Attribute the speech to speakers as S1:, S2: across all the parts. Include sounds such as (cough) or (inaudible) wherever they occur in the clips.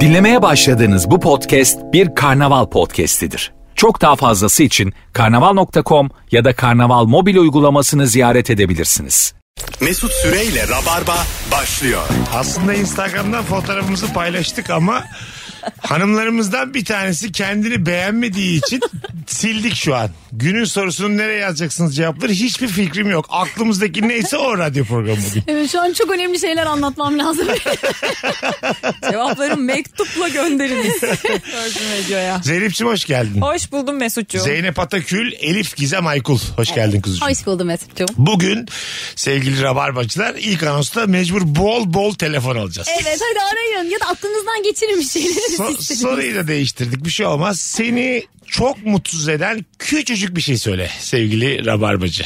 S1: Dinlemeye başladığınız bu podcast bir karnaval podcastidir. Çok daha fazlası için karnaval.com ya da karnaval mobil uygulamasını ziyaret edebilirsiniz.
S2: Mesut Süreyle Rabarba başlıyor.
S3: Aslında Instagram'dan fotoğrafımızı paylaştık ama hanımlarımızdan bir tanesi kendini beğenmediği için sildik şu an. Günün sorusunu nereye yazacaksınız cevapları hiçbir fikrim yok. Aklımızdaki neyse o radyo programı bugün.
S4: Evet şu an çok önemli şeyler anlatmam
S5: (laughs)
S4: lazım.
S5: Cevapları mektupla gönderiniz. Virgin Radio'ya.
S3: Zeynep'ciğim hoş geldin.
S5: Hoş buldum Mesut'cuğum.
S3: Zeynep Atakül, Elif Gizem Aykul. Hoş geldin kuzucuğum.
S4: Hoş buldum Mesut'cum.
S3: Bugün sevgili Rabarbacılar ilk anonsta mecbur bol bol telefon alacağız.
S4: Evet hadi arayın ya da aklınızdan geçirin bir şeyleri.
S3: So- soruyu da değiştirdik bir şey olmaz. Seni çok mutsuz eden küçücük bir şey söyle sevgili Rabarbacı.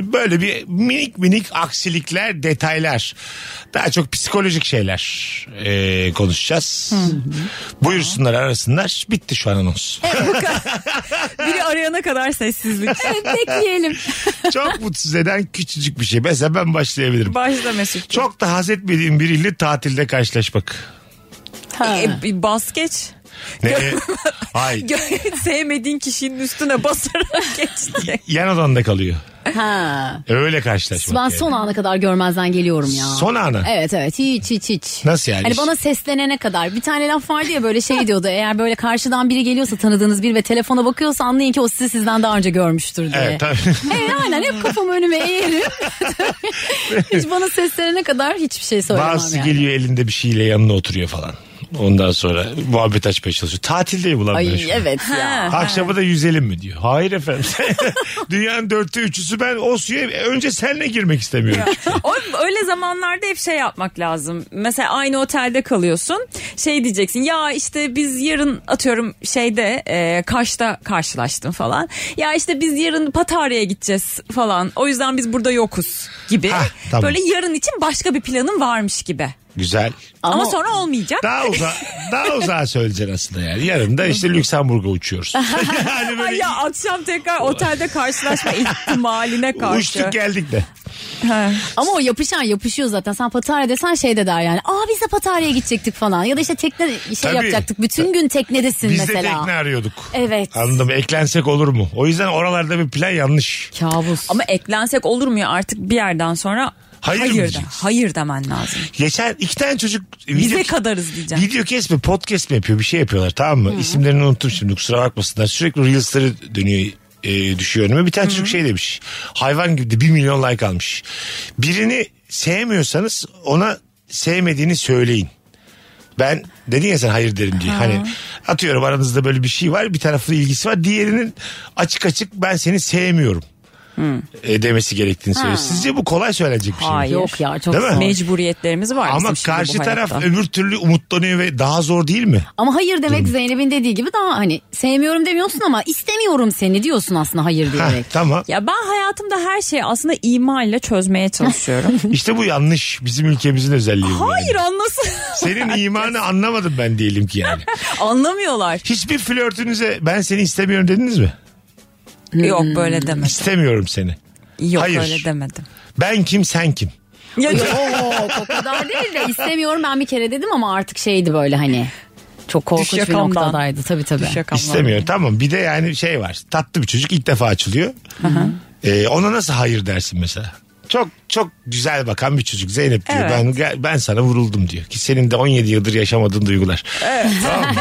S3: Böyle bir minik minik aksilikler, detaylar. Daha çok psikolojik şeyler ee, konuşacağız. Buyursunlar arasınlar. Bitti şu an anons.
S5: (laughs) Biri arayana kadar sessizlik.
S4: Evet bekleyelim.
S3: çok mutsuz eden küçücük bir şey. Mesela ben başlayabilirim.
S5: Başla Mesut.
S3: Çok da haz etmediğim biriyle tatilde karşılaşmak.
S5: E, bir bas geç. (laughs)
S3: Ne? e, Hayır.
S5: Gö- Sevmediğin kişinin üstüne basarak (laughs) geçti.
S3: Yan odanda kalıyor.
S4: Ha.
S3: Öyle karşılaşmak.
S4: Ben
S3: yani.
S4: son ana kadar görmezden geliyorum ya.
S3: Son ana.
S4: Evet evet hiç hiç hiç.
S3: Nasıl yani?
S4: Hani bana seslenene kadar bir tane laf vardı ya böyle şey diyordu eğer böyle karşıdan biri geliyorsa tanıdığınız biri ve telefona bakıyorsa anlayın ki o sizi sizden daha önce görmüştür diye.
S3: Evet tabii.
S4: E, aynen hep kafamı
S3: (laughs)
S4: önüme eğerim. hiç bana seslenene kadar hiçbir şey söylemem
S3: Bazısı
S4: yani.
S3: geliyor elinde bir şeyle yanına oturuyor falan. Ondan sonra muhabbet açmaya çalışıyor. Tatildeyim ulan ben
S4: Ay
S3: şu an.
S4: evet ya.
S3: şey. Akşama da yüzelim mi diyor. Hayır
S4: (laughs)
S3: efendim. Dünyanın dörtte üçüsü ben o suya önce senle girmek istemiyorum.
S5: O, öyle zamanlarda hep şey yapmak lazım. Mesela aynı otelde kalıyorsun. Şey diyeceksin ya işte biz yarın atıyorum şeyde e, Kaş'ta karşılaştım falan. Ya işte biz yarın Patara'ya gideceğiz falan. O yüzden biz burada yokuz gibi.
S3: Hah, tamam.
S5: Böyle yarın için başka bir planın varmış gibi.
S3: Güzel.
S5: Ama,
S4: Ama-
S5: sonra olmayacak.
S3: Daha uza daha uzağa söyleyeceksin aslında yani. Yarın da işte Lüksemburg'a
S4: (laughs)
S3: uçuyoruz. yani
S5: Ay
S3: böyle
S5: ya akşam tekrar otelde
S3: (laughs)
S5: karşılaşma ihtimaline karşı.
S3: uçtuk geldik de.
S4: Ama o yapışan yapışıyor zaten. Sen Pattaya desen şey de der yani. Aa biz de Pattaya'ya gidecektik falan. Ya da işte tekne şey
S3: Tabii.
S4: yapacaktık. Bütün gün teknedesin
S3: Biz de
S4: mesela.
S3: tekne arıyorduk.
S4: Evet.
S3: Anladım. Eklensek olur mu? O yüzden oralarda bir plan yanlış.
S4: Kabus.
S5: Ama eklensek olur mu ya artık bir yerden sonra
S3: Hayır mı
S5: hayır, de,
S3: diyeceksin?
S5: hayır demen lazım.
S3: Geçen iki tane çocuk
S5: Bize
S3: video-
S5: kadarız diyeceğim.
S3: Video kes mi podcast mi yapıyor bir şey yapıyorlar tamam mı? İsimlerini unuttum şimdi kusura bakmasınlar. Sürekli Reels'ları dönüyor e, düşüyor önüme. Bir tane çocuk şey demiş. Hayvan gibi de 1 milyon like almış. Birini sevmiyorsanız ona sevmediğini söyleyin. Ben dedin ya sen hayır derim diye. Hani atıyorum aranızda böyle bir şey var. Bir tarafın ilgisi var. Diğerinin açık açık ben seni sevmiyorum. e, demesi gerektiğini söylüyor. Sizce bu kolay söylenecek bir şey mi?
S5: Hayır.
S4: Yok ya çok
S3: Değil mi?
S4: zor.
S5: Mecburiyetlerimiz var.
S3: Ama
S5: bizim şimdi bu
S3: karşı taraf
S5: hayatta.
S3: öbür türlü umutlanıyor ve daha zor değil mi?
S4: Ama hayır demek Zeynep'in dediği gibi daha hani sevmiyorum demiyorsun ama istemiyorum seni diyorsun aslında hayır
S3: Heh,
S4: diyerek.
S3: tamam.
S5: Ya ben hayatımda her şeyi aslında imayla
S3: (laughs)
S5: çözmeye çalışıyorum.
S3: İşte bu yanlış. Bizim ülkemizin özelliği. bu
S5: hayır
S3: yani. (laughs)
S5: anlasın.
S3: Senin imanı anlamadım ben diyelim ki
S5: (laughs)
S3: yani.
S5: Anlamıyorlar.
S3: Hiçbir flörtünüze ben seni istemiyorum dediniz mi?
S5: Yok böyle demedim.
S3: İstemiyorum seni.
S5: Yok
S3: Hmm. Hayır.
S5: öyle demedim.
S3: Ben kim sen kim?
S5: Ya,
S4: Oo, o kadar değil de istemiyorum ben bir kere dedim ama artık şeydi böyle hani. Çok korkunç bir
S5: Düş yakamdan.
S4: noktadaydı tabii tabii.
S5: Şakamlar.
S3: İstemiyorum tamam. Bir de yani şey var. Tatlı bir çocuk ilk defa açılıyor. Ee, ona nasıl hayır dersin mesela? Çok çok güzel bakan bir çocuk Zeynep diyor.
S5: Evet.
S3: Ben gel- ben sana vuruldum diyor. Ki senin de 17 yıldır yaşamadığın duygular. (laughs) Tamam mı?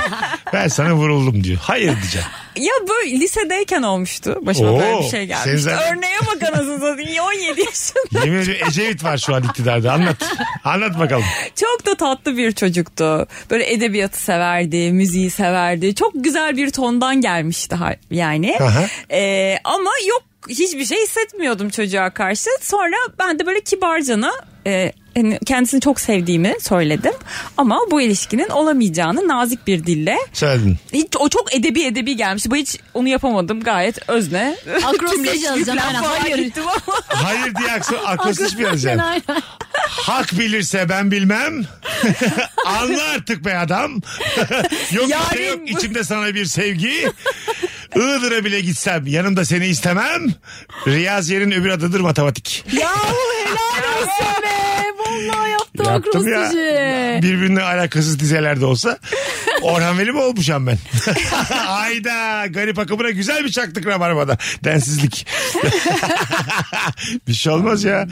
S3: ben sana vuruldum diyor. Hayır diyeceksin.
S5: Ya böyle lisedeyken olmuştu. Başıma
S3: Oo,
S5: böyle bir şey
S3: sen
S5: gelmişti.
S3: zaten-
S5: Örneğe bak anasını satayım. 17 yaşında.
S3: Yemin ediyorum Ecevit var şu an iktidarda. Anlat. Anlat bakalım.
S5: Çok da tatlı bir çocuktu. Böyle edebiyatı severdi, müziği severdi. Çok güzel bir tondan gelmişti ha- yani.
S3: Aha.
S5: Ee, ama yok hiçbir şey hissetmiyordum çocuğa karşı. Sonra ben de böyle kibarcana e, hani kendisini çok sevdiğimi söyledim. Ama bu ilişkinin olamayacağını nazik bir dille.
S3: Söyledin.
S5: Hiç, o çok edebi edebi gelmişti. Bu hiç onu yapamadım gayet özne.
S4: Akrostiş
S5: Tümleşik
S4: yazacağım,
S5: falan
S4: aynen. Hayır.
S5: gittim ama.
S3: Hayır diye aksa, şey. akrostiş mi yazacaksın?
S4: Aynen.
S3: (laughs) Hak bilirse ben
S5: (laughs)
S3: bilmem. Anla artık be adam. yok bir şey
S5: Yarın
S3: yok.
S5: bu-
S3: İçimde sana bir sevgi. Iğdır'a bile gitsem yanımda seni istemem. Riyaz yerin öbür adıdır matematik.
S5: Yahu helal olsun be. Vallahi yaptın
S4: Tavuk
S3: Yaptım ya.
S4: rostici.
S3: Birbirine alakasız dizeler de olsa Orhan Veli mi olmuşam ben? (laughs) Hayda garip akımına güzel bir çaktık rabarbada. Densizlik. (laughs) bir şey olmaz ya.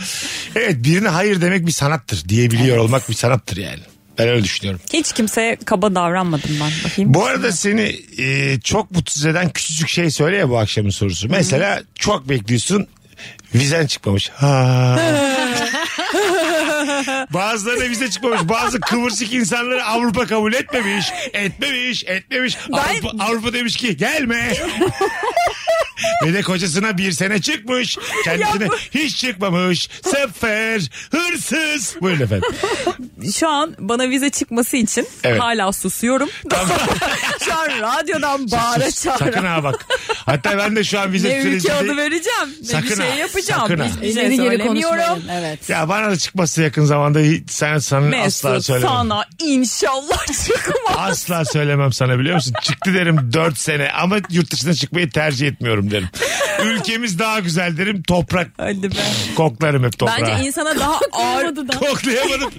S3: Evet birine hayır demek bir sanattır. Diyebiliyor olmak bir sanattır yani. Ben öyle düşünüyorum.
S5: Hiç kimseye kaba davranmadım ben. Bakayım.
S3: Bu arada seni e, çok mutsuz eden küçücük şey söyle ya bu akşamın sorusu. Mesela çok bekliyorsun vizen çıkmamış.
S5: (laughs)
S3: Ha. Bazılarına vize çıkmamış. Bazı kıvırcık insanları Avrupa kabul etmemiş. Etmemiş, etmemiş. Avrupa, Avrupa demiş ki gelme. Ve de kocasına bir sene çıkmış. Kendisine hiç çıkmamış. Sefer, hırsız. Buyurun efendim.
S5: Şu an bana vize çıkması için
S3: Evet.
S5: hala susuyorum. (laughs) Şu an radyodan bağıra
S3: Sus, sakın
S5: çağıra.
S3: ha bak. Hatta ben de şu an vize
S5: Ne ülke
S3: sürecinde-
S5: adı vereceğim. Ne
S3: Sakın
S5: bir şey
S3: ha,
S5: yapacağım.
S3: sakın ha.
S5: Hiçbir şey
S4: Elini geri
S5: söylemiyorum.
S4: konuşmayalım. Evet.
S3: Ya bana da çıkması yakın zamanda hiç, sen sana asla
S5: Mesut
S3: söylemem.
S5: sana inşallah (laughs) çıkmaz.
S3: Asla söylemem sana biliyor musun? Çıktı derim 4 sene ama yurt dışına çıkmayı tercih etmiyorum derim. Ülkemiz daha güzel derim. Toprak
S5: Hadi be.
S3: koklarım hep toprağa.
S5: Bence insana daha ağır
S3: Koklayamadım.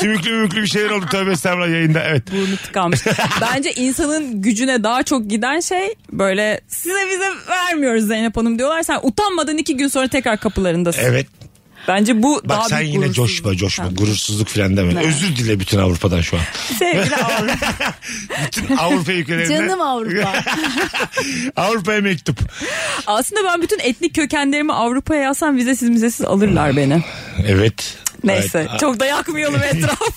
S3: Sümüklü mümüklü bir şeyler oldu. Tövbe estağfurullah yayında evet.
S5: burnu
S3: (laughs)
S5: tıkanmış. Bence insanın gücüne daha çok giden şey böyle size vize vermiyoruz Zeynep Hanım diyorlar. Sen utanmadan iki gün sonra tekrar kapılarındasın.
S3: Evet.
S5: Bence bu
S3: Bak
S5: daha
S3: sen
S5: büyük
S3: yine
S5: gurursuzluk.
S3: coşma coşma.
S5: Ha.
S3: Gurursuzluk falan deme. Özür dile bütün Avrupa'dan şu an.
S5: (laughs) Sevgili Avrupa.
S3: Bütün Avrupa ülkelerinden. (laughs)
S4: Canım Avrupa.
S3: Avrupa'ya mektup.
S5: Aslında ben bütün etnik kökenlerimi Avrupa'ya yazsam vizesiz müzesiz alırlar beni.
S3: Ah. Evet. ah.
S5: Neyse
S3: Evet.
S5: çok da yakmayalım
S3: (laughs)
S5: etrafı.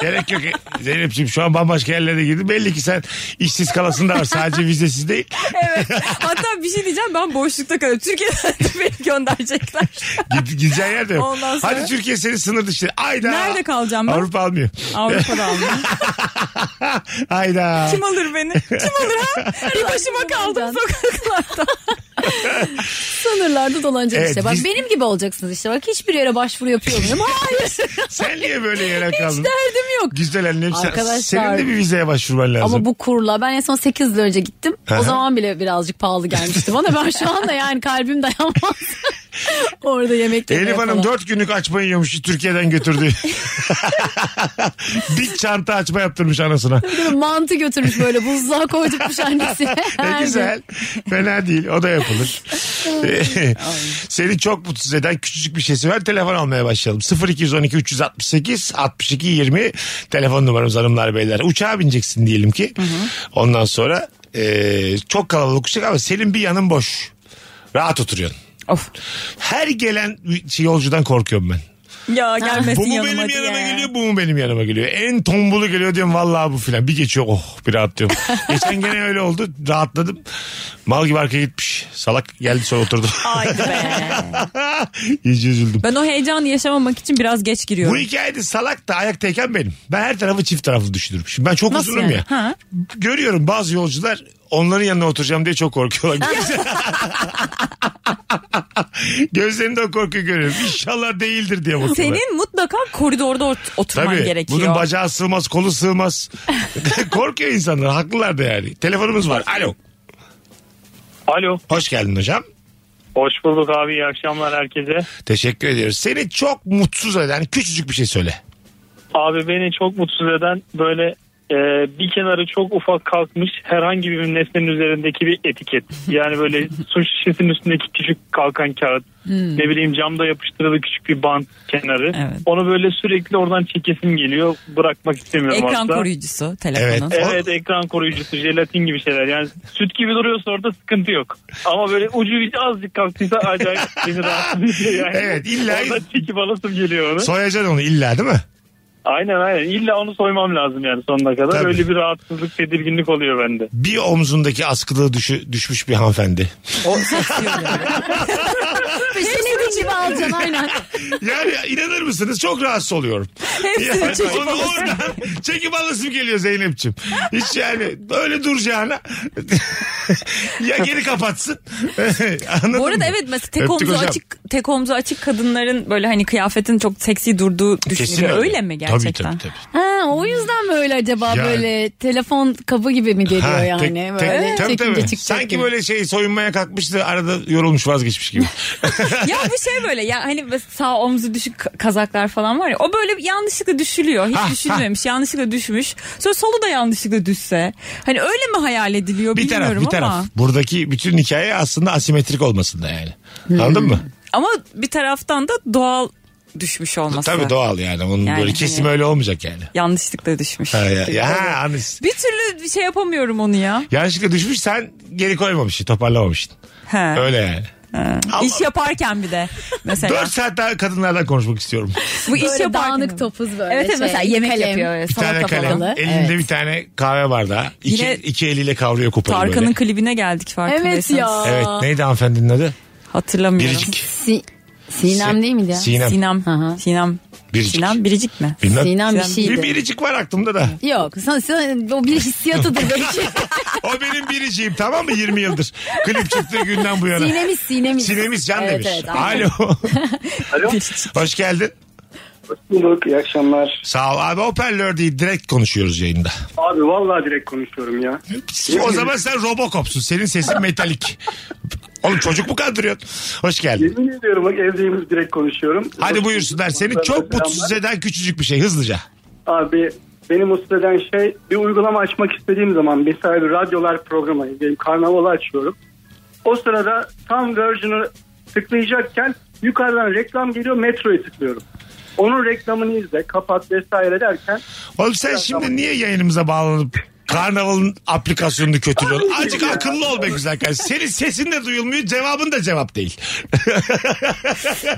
S3: Gerek yok. Zeynep'ciğim şu an bambaşka yerlere girdin. Belli ki sen işsiz kalasın da var. Sadece vizesiz değil.
S5: evet. Hatta bir şey diyeceğim ben boşlukta kalıyorum. Türkiye'den de beni gönderecekler.
S3: Gid- Gideceğin yer de yok.
S5: Ondan sonra-
S3: Hadi Türkiye seni sınır dışı. Ayda.
S5: Nerede kalacağım ben?
S3: Avrupa almıyor.
S5: Avrupa'da almayayım.
S3: Ayda.
S5: Kim alır beni? Kim alır ha? Bir başıma kaldım
S4: Ben-
S5: sokaklarda.
S3: (laughs)
S4: Sınırlarda dolanacak
S3: Evet,
S4: işte. Bak
S3: biz-
S4: benim gibi olacaksınız işte. Bak hiçbir yere başvuru yapıyor
S3: (laughs)
S4: muyum? Hayır.
S3: Sen niye böyle yere kaldın?
S4: Derdim yok.
S3: Güzel annem sen-
S4: Arkadaşlar-
S3: senin de bir vizeye başvurman lazım.
S4: Ama bu kurla ben en son 8 yıl önce gittim.
S3: Aha.
S4: O zaman bile birazcık pahalı gelmişti bana. Ben şu anda yani kalbim dayanmaz. (laughs) Orada yemek yemeye
S3: Elif Hanım
S4: falan.
S3: 4 günlük açma yiyormuş Türkiye'den götürdü.
S5: (laughs)
S3: (laughs) bir çanta açma yaptırmış anasına.
S4: Değil mi? Mantı götürmüş böyle buzluğa koydurmuş annesine.
S3: (laughs)
S4: Her
S3: Ne
S4: gün.
S3: güzel. Fena değil. O da yapılır. Seni çok mutsuz eden küçücük bir şeysi var. Telefon almaya başlayalım. 0212 368 62 20 telefon numaramız hanımlar beyler. Uçağa bineceksin diyelim ki. Ondan sonra e, çok kalabalık uçak ama senin bir yanın boş. Rahat oturuyorsun.
S5: Of.
S3: Her gelen şey, yolcudan korkuyorum ben.
S5: Ya gelmesin
S3: Bu mu
S5: yanıma
S3: benim
S5: diye.
S3: yanıma geliyor bu mu benim yanıma geliyor. En tombulu geliyor diyorum vallahi bu filan. Bir geçiyor oh bir
S5: (laughs)
S3: rahatlıyorum. Geçen gene öyle oldu rahatladım. Mal gibi arkaya gitmiş. Salak geldi sonra oturdu.
S5: Haydi be.
S3: (laughs) İyice üzüldüm.
S5: (laughs) Ben o heyecanı yaşamamak için biraz geç
S3: Bu
S5: giriyorum.
S3: hikayede salak da ayaktayken benim. Ben her tarafı çift taraflı düşünürüm. Şimdi ben çok
S5: Nasıl
S3: uzunum
S5: yani?
S3: ya.
S5: Ha.
S3: Görüyorum bazı yolcular onların yanına oturacağım diye çok
S5: (laughs)
S3: korkuyorlar. Gözlerinde o korkuyu görüyorum. İnşallah değildir diye bakıyorlar.
S5: Senin mutlaka koridorda ot- oturman
S3: Tabii.
S5: gerekiyor.
S3: Bunun bacağı sığmaz, kolu
S5: (laughs)
S3: sığmaz. Korkuyor insanlar. Haklılar da yani. Telefonumuz var. Alo.
S6: Alo.
S3: Hoş geldin hocam.
S6: Hoş bulduk abi. İyi akşamlar herkese.
S3: Teşekkür ediyoruz. Seni çok mutsuz eden küçücük bir şey söyle.
S6: Abi beni çok mutsuz eden böyle e, bir kenarı çok ufak kalkmış herhangi bir nesnenin üzerindeki bir etiket.
S5: (laughs)
S6: Yani böyle su şişesinin üstündeki küçük kalkan kağıt. Ne bileyim camda yapıştırılı küçük bir bant kenarı.
S5: Hmm. Evet.
S6: Onu böyle sürekli oradan çekesim geliyor. Bırakmak istemiyorum
S5: Ekran
S6: aslında.
S5: koruyucusu telefonun.
S3: Evet.
S6: Evet ekran koruyucusu jelatin gibi şeyler yani süt gibi duruyorsa orada sıkıntı yok ama böyle ucu hiç azıcık
S3: (laughs)
S6: kalktıysa acayip beni rahatsız ediyor yani.
S3: Evet, illa-
S6: Oradan çekip alasım geliyor onu.
S3: Soyacaksın onu illa değil mi?
S6: Aynen aynen. İlla onu soymam lazım yani sonuna kadar.
S3: Tabii.
S6: Öyle bir rahatsızlık, tedirginlik oluyor bende.
S3: Bir omzundaki askılığı düşü, düşmüş bir hanımefendi.
S4: Senin gibi alacaksın aynen.
S3: Yani inanır mısınız çok rahatsız oluyorum.
S5: Hepsini
S3: Yani
S5: çekip
S3: onu oradan çekip alasım geliyor Zeynep'ciğim. Hiç yani böyle duracağına (laughs) ya geri kapatsın. (laughs) Anladın
S5: Bu arada
S3: mı?
S5: evet mesela tek
S3: Öptük
S5: omzu
S3: hocam.
S5: açık tek omzu açık kadınların böyle hani kıyafetin çok seksi durduğu düşünülüyor. Öyle mi gerçekten?
S3: (laughs) Tabii tabii. tabii.
S4: Ha, Ha o yüzden böyle acaba
S3: Ya-
S4: böyle telefon kabı gibi mi geliyor
S3: Ha,
S4: yani
S3: tek- tek-
S4: böyle
S3: tabii,
S4: çekince
S3: tabii.
S4: çıkacak
S3: Sanki
S4: gibi.
S3: böyle şey soyunmaya kalkmıştı arada yorulmuş vazgeçmiş
S4: (laughs)
S3: gibi.
S5: ya bu şey böyle ya hani sağ omzu düşük ka- kazaklar falan var ya o böyle yanlışlıkla düşülüyor. Hiç
S3: Ha,
S5: düşünmemiş yanlışlıkla düşmüş. Sonra solu da yanlışlıkla düşse. Hani öyle mi hayal ediliyor
S3: bir taraf
S5: bilmiyorum
S3: bir taraf.
S5: ama.
S3: Buradaki bütün hikaye aslında asimetrik olmasında yani.
S4: Hmm.
S3: Anladın mı?
S5: Ama bir taraftan da doğal düşmüş olması.
S3: Tabii doğal yani. Onun
S5: Yani
S3: böyle kesim
S5: hani-
S3: öyle olmayacak yani.
S5: Yanlışlıkla düşmüş.
S3: Ha, ya, ya, ha, anlış-
S5: Bir türlü şey yapamıyorum onu ya.
S3: Yanlışlıkla düşmüş sen geri koymamışsın toparlamamışsın.
S5: He.
S3: Öyle yani.
S5: İş yaparken bir de mesela.
S3: 4 saat daha kadınlardan konuşmak istiyorum.
S5: bu iş
S4: Böyle
S5: yaparken.
S4: dağınık topuz böyle.
S5: Evet evet,
S4: şey,
S5: mesela yemek
S4: kalem.
S5: yapıyor. öyle,
S3: Bir tane
S5: salata
S3: kalem.
S5: falan.
S3: Elinde bir tane kahve bardağı. İki,
S5: Yine-
S3: iki eliyle kavruyor kupayı
S5: Tarkan'ın
S3: böyle.
S5: klibine geldik farkındaysanız.
S4: Evet ya.
S3: Evet neydi hanımefendinin adı?
S5: Hatırlamıyorum.
S3: Biricik.
S4: Si- Sinem değil miydi ya?
S3: Sinem.
S5: Sinem.
S4: Aha.
S5: Sinem.
S3: Biricik.
S5: Sinem Biricik mi?
S3: Bilmem.
S4: Sinem bir
S5: Sinem.
S3: Bir
S4: şeydi.
S3: biricik var aklımda da.
S4: Yok sen, sen- o bir hissiyatıdır
S3: (laughs)
S4: belki.
S3: O benim biriciğim tamam mı 20 yıldır. Klip çıktığı günden bu yana.
S4: sinemiz sinemiz.
S3: Sinemiz can
S4: Evet,
S3: demiş.
S4: evet, aynen.
S3: Alo.
S7: Alo.
S3: Hoş geldin.
S7: Bulduk. İyi akşamlar.
S3: Sağ ol. Abi hoparlör değil direkt konuşuyoruz yayında.
S7: Abi vallahi direkt konuşuyorum ya.
S3: O zaman sen Robocop'sun. Senin sesin metalik. Oğlum çocuk mu kandırıyorsun? Hoş geldin.
S7: Yemin ediyorum bak evdeyimiz direkt konuşuyorum.
S3: Hadi buyursunlar. Seni çok mutsuz eden küçücük bir şey hızlıca.
S7: Abi beni mutsuz eden şey bir uygulama açmak istediğim zaman mesela bir radyolar programı diyelim karnavalı açıyorum. O sırada tam Virgin'ı tıklayacakken yukarıdan reklam geliyor metroyu tıklıyorum. Onun reklamını izle kapat vesaire derken
S3: Oğlum sen şimdi niye yayınımıza bağlanıp Karnaval'ın aplikasyonunu kötülüyorsun? Azıcık akıllı ol be güzel kardeşim. Senin sesin de duyulmuyor, cevabın da cevap değil.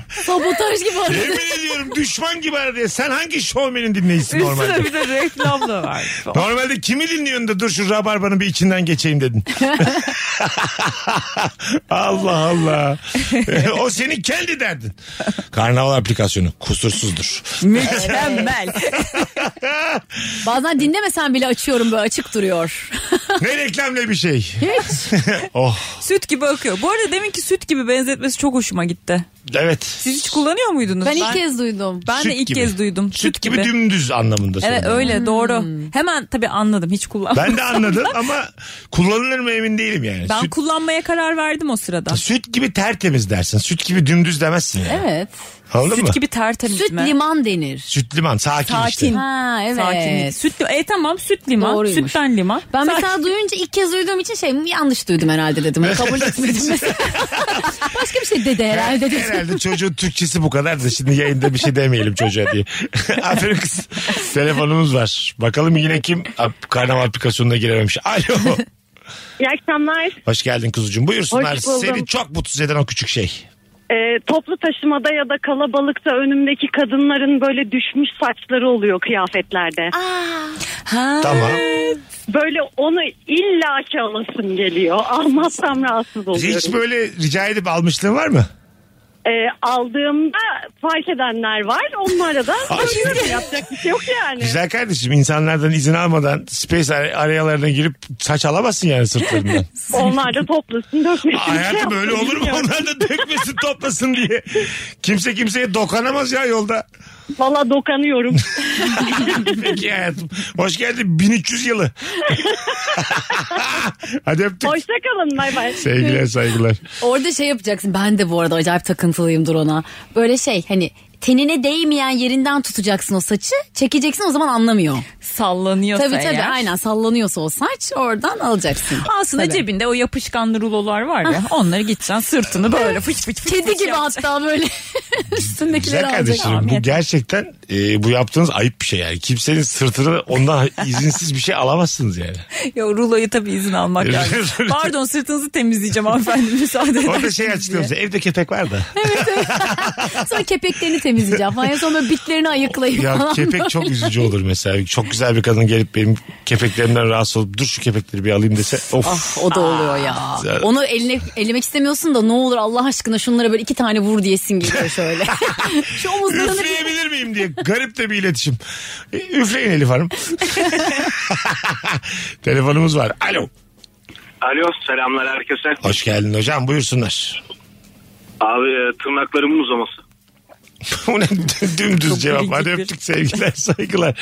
S4: Sabotaj gibi arıyor.
S3: Yemin ediyorum düşman gibi aradı ya. Sen hangi şovmenin dinleyicisin normalde?
S5: Üstüne bir de reklam da var.
S3: (laughs) Normalde kimi dinliyorsun da dur şu rabarbanın bir içinden geçeyim
S5: (laughs)
S3: dedin. Allah Allah. (laughs) o senin kendi derdin. Karnaval aplikasyonu kusursuzdur.
S5: Mükemmel.
S3: Şey-
S4: Bazen dinlemesen bile açıyorum böyle açık duruyor.
S3: Ne reklam ne bir şey. (laughs) oh
S5: süt gibi akıyor. Bu arada deminki süt gibi benzetmesi çok hoşuma gitti.
S3: evet.
S5: Siz hiç kullanıyor muydunuz?
S4: Ben ilk kez duydum.
S5: ben
S3: Süt
S5: de ilk
S3: gibi.
S5: kez duydum.
S3: Süt, gibi, dümdüz anlamında
S5: Evet
S3: söyledim.
S5: öyle
S4: Hmm.
S5: doğru. Hemen tabii anladım hiç kullanmadım.
S3: Ben de anladım ama kullanılır mı emin değilim yani.
S5: Ben
S3: süt,
S5: kullanmaya karar verdim o sırada.
S3: süt gibi tertemiz dersin. Süt gibi dümdüz demezsin yani.
S4: Evet.
S3: Anladın
S5: Süt
S3: mı?
S5: gibi tertemiz
S4: Süt
S5: mi?
S4: liman denir.
S3: Süt liman sakin, işte.
S5: Sakin.
S4: Ha evet.
S5: Sakinlik. Süt li- E tamam süt liman.
S4: Doğruymuş.
S5: Sütten liman.
S4: Ben
S5: Sakin-
S4: mesela duyunca ilk kez duyduğum için şey yanlış duydum herhalde dedim. Hani (laughs) Kabul etmedim mesela. Başka bir şey dedi herhalde dedim.
S3: Herhalde çocuğun Türkçesi bu kadar da şimdi yayında bir şey demeyelim çocuğa diye. (laughs) Aferin kız. Telefonumuz var. Bakalım yine kim ap- karnaval aplikasyonuna girememiş. Alo.
S8: İyi akşamlar.
S3: Hoş geldin kuzucuğum. Buyursunlar.
S8: Hoş buldum.
S3: Seni çok mutsuz eden o küçük şey.
S8: Ee, toplu taşımada ya da kalabalıkta önümdeki kadınların böyle düşmüş saçları oluyor kıyafetlerde.
S5: Ha.
S3: Tamam.
S8: Böyle onu illaki alasım geliyor. Almazsam rahatsız oluyorum.
S3: Hiç böyle rica edip almışlığın var mı?
S8: Ee, aldığımda fark edenler var. Onlara da
S3: Ay.
S8: söylüyorum. Yapacak bir şey yok yani.
S3: Güzel kardeşim insanlardan izin almadan space ar- arayalarına girip saç alamazsın yani
S8: (laughs)
S3: sırtlarından.
S8: Onlar da toplasın dökmesin.
S3: Hayatım
S8: Şey
S3: öyle
S8: yapsın,
S3: olur mu?
S8: bilmiyorum.
S3: Onlar da dökmesin toplasın diye. Kimse kimseye dokanamaz ya yolda.
S8: Valla dokanıyorum. (laughs)
S3: Peki hayatım. Hoş geldin 1300 yılı. Hadi öptük.
S8: Hoşçakalın bay bay.
S3: Sevgiler saygılar.
S4: Orada şey yapacaksın. Ben de bu arada acayip takıntılıyımdır ona. Böyle şey hani tenine değmeyen yerinden tutacaksın o saçı. Çekeceksin o zaman anlamıyor.
S5: Sallanıyorsa
S4: Tabii tabii
S5: eğer.
S4: aynen sallanıyorsa o saç oradan alacaksın.
S5: Aslında
S4: Tabii. Ah.
S5: cebinde o yapışkan rulolar var ya. onları gideceksin sırtını böyle fıç fıç fıç.
S4: Kedi
S5: fıç
S4: gibi
S5: yapacaksın.
S4: hatta böyle
S3: Güzel
S4: (laughs) üstündekileri alacak.
S3: kardeşlerim bu gerçekten e, bu yaptığınız ayıp bir şey yani. Kimsenin sırtını ondan izinsiz bir şey alamazsınız yani.
S5: Ya ruloyu tabii izin almak
S3: (laughs)
S5: lazım. Pardon sırtınızı temizleyeceğim hanımefendi müsaade eder
S3: Orada şey açıklıyoruz evde köpek var da.
S4: Sonra kepeklerini temizleyeceğim falan. En son böyle bitlerini ayıklayıp
S3: Ya
S4: falan.
S3: kepek çok üzücü olur mesela. Çok güzel bir kadın gelip benim kepeklerimden rahatsız olup dur şu kepekleri bir alayım dese. Of.
S4: Ah, o da oluyor ya.
S3: Güzel.
S4: Onu eline, elemek istemiyorsun da ne olur Allah aşkına şunlara böyle iki tane vur diyesin geliyor şöyle.
S3: (laughs)
S4: Şu omuzlarını bir...
S3: Üfleyebilir miyim diye garip de bir iletişim. E, Üfleyin Elif
S5: (laughs)
S3: Hanım. Telefonumuz var. Alo.
S9: Alo selamlar herkese.
S3: Hoş geldin hocam buyursunlar. (laughs)
S9: Abi e, tırnaklarımın uzaması.
S3: Buna dümdüz
S5: Çok
S3: cevap var.
S5: bilindik bir-
S3: Öptük sevgiler saygılar.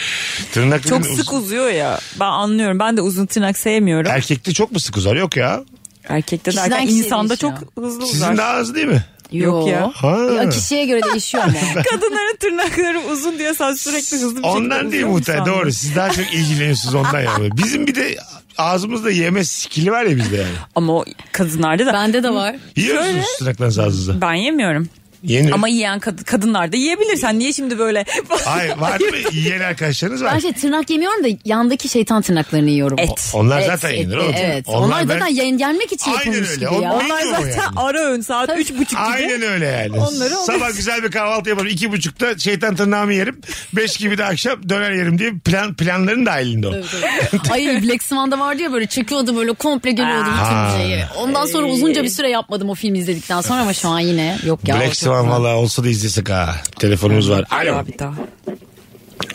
S3: Tırnak
S5: Çok
S3: uzun- Er-
S5: sık uzuyor ya. Ben anlıyorum. Ben de uzun tırnak sevmiyorum.
S3: Erkekte çok mu sık uzar? Yok ya.
S5: Erkekte de
S4: Kişiden
S5: erkek
S4: kişiye
S5: insanda çok
S4: şey değişiyor.
S5: hızlı
S3: Sizin
S5: uzar.
S3: daha az değil mi?
S5: Yok ya.
S3: Ha.
S4: Ya kişiye göre
S3: (laughs)
S4: değişiyor ama.
S5: (laughs) Kadınların tırnakları uzun diye sen sürekli hızlı bir şekilde
S3: Ondan değil
S5: uzuyormuş
S3: muhtemelen
S5: sandım.
S3: doğru. Siz daha çok ilgileniyorsunuz ondan yani. Bizim bir de ağzımızda yeme skili var ya bizde yani.
S5: Ama o kadınlarda da. Ben,
S4: Bende de var.
S3: Yiyor musunuz tırnaklarınızı ağzınıza?
S5: yemiyorum.
S3: Yeni.
S5: Ama yiyen kad- kadınlar da yiyebilir. Sen niye şimdi böyle...
S3: Hayır var mı? Yeni arkadaşlarınız var.
S4: Ben şey tırnak yemiyorum da yandaki şeytan tırnaklarını yiyorum.
S5: (laughs) Et.
S3: Onlar
S4: Et,
S3: zaten
S4: et,
S3: yenir oğlum.
S4: Evet. Onlar,
S3: ben-
S4: zaten yen- yenmek için
S3: Aynen
S4: yapılmış
S3: öyle.
S4: gibi ya.
S3: Onlar-
S5: Onlar
S3: Yiyor
S5: zaten
S3: yani.
S5: ara öğün saat üç buçuk gibi.
S3: Aynen öyle yani.
S5: Onları alıyoruz.
S3: Sabah güzel bir kahvaltı yaparım. İki buçukta şeytan tırnağımı yerim. Beş gibi de akşam döner yerim diye plan, planların dahilinde o.
S4: (laughs) Ay Black Swan'da vardı ya böyle çıkıyordu böyle komple görüyordu
S3: Aa.
S4: bütün şeyi. Ondan sonra uzunca bir süre yapmadım o filmi izledikten sonra ama şu an yine yok ya. o
S3: Black
S4: çok
S3: Swan
S4: güzel.
S3: valla olsa da izlesek ha. Telefonumuz var. Alo.
S5: Abi daha.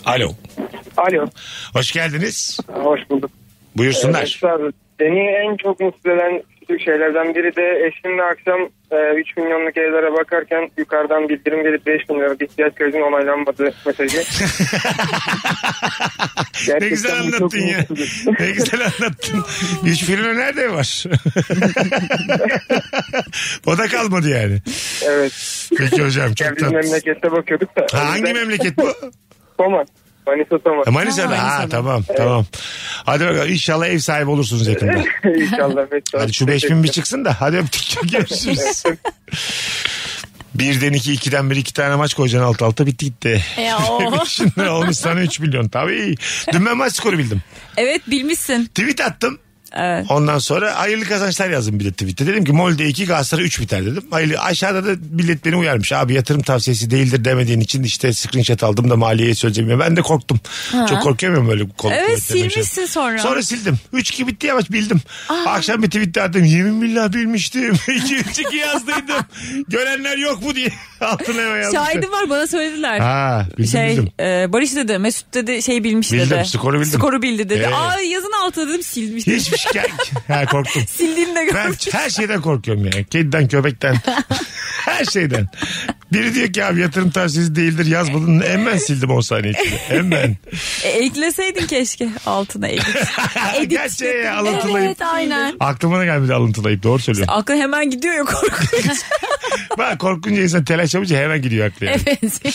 S3: Alo.
S9: Alo.
S3: Hoş geldiniz.
S9: Hoş bulduk.
S3: Buyursunlar.
S9: abi, beni en çok mutlu eden küçük şeylerden biri de eşimle akşam e, 3 milyonluk evlere bakarken yukarıdan bildirim gelip 5 milyon liralık ihtiyaç kredinin onaylanmadı
S3: (laughs)
S9: mesajı.
S3: ne güzel
S9: bu çok
S3: anlattın ya.
S9: mutlu şey. edici.
S3: ne güzel anlattın. Hiç filmi nerede
S9: (laughs)
S3: var? o da kalmadı yani.
S9: Evet.
S3: Peki hocam çok
S9: Yani biz
S3: tatlı.
S9: memlekette bakıyorduk da.
S3: Ha, hangi memleket bu?
S9: Soma. Manisa Soma.
S3: Ha, E, Manisa'da. Ha, tamam tamam. Hadi bakalım inşallah ev sahibi olursunuz yakında.
S9: (laughs) İnşallah.
S3: Hadi şu 5000 bir çıksın da hadi öptük görüşürüz. Birden iki, ikiden bir iki tane maç koyacaksın alt alta bitti gitti.
S4: Ya o.
S3: (laughs) Şimdi olmuş sana 3 milyon tabii. Dün ben maç skoru bildim.
S5: Evet bilmişsin.
S3: Tweet attım.
S5: Evet.
S3: Ondan sonra hayırlı kazançlar yazdım bir de tweette. Dedim ki Molde 2 Galatasaray 3 biter dedim. Hayırlı. Aşağıda da millet beni uyarmış. Abi yatırım tavsiyesi değildir demediğin için işte screenshot aldım da maliyeye söyleyeceğim. Ya Ben de korktum. Çok korkuyor muyum böyle kol şey?
S5: Evet,
S3: kuvvetlerine bir
S5: silmişsin sonra.
S3: Sonra sildim. 3-2 bitti ya maç bildim. Akşam bir tweet de attım. Yemin billah bilmiştim. (laughs) 2-3-2 yazdıydım. Görenler yok mu diye. (laughs) Altına hemen yazmışlar.
S5: Şahidim var bana söylediler.
S3: Ha bildim
S5: şey
S3: bildim.
S5: e, Barış dedi Mesut dedi şey bilmiş
S3: Bildim,
S5: dedi.
S3: skoru bildim.
S5: Skoru bildi dedi.
S3: Evet.
S5: Aa yazın altına dedim silmiş. dedi.
S3: Hiçbir şikayet. (laughs) ha korktum.
S5: Sildiğini de
S3: Ben
S5: görmüş.
S3: her şeyden korkuyorum yani. Kediden,
S5: (laughs)
S3: köpekten. her şeyden. Biri diyor ki abi yatırım tavsiyesi değildir yazmadın. Hemen sildim 10 saniye içinde. Hemen.
S5: E, ekleseydin keşke
S3: (laughs)
S5: altına edit. Edit.
S3: Gerçeği şey ya, alıntılayıp.
S4: Evet aynen.
S3: Aklıma da gelmedi alıntılayıp doğru söylüyorum.
S5: Aklı hemen gidiyor ya korkunç.
S3: Bak korkunca insan telaş yapınca hemen gidiyor aklı. yani.
S4: Evet.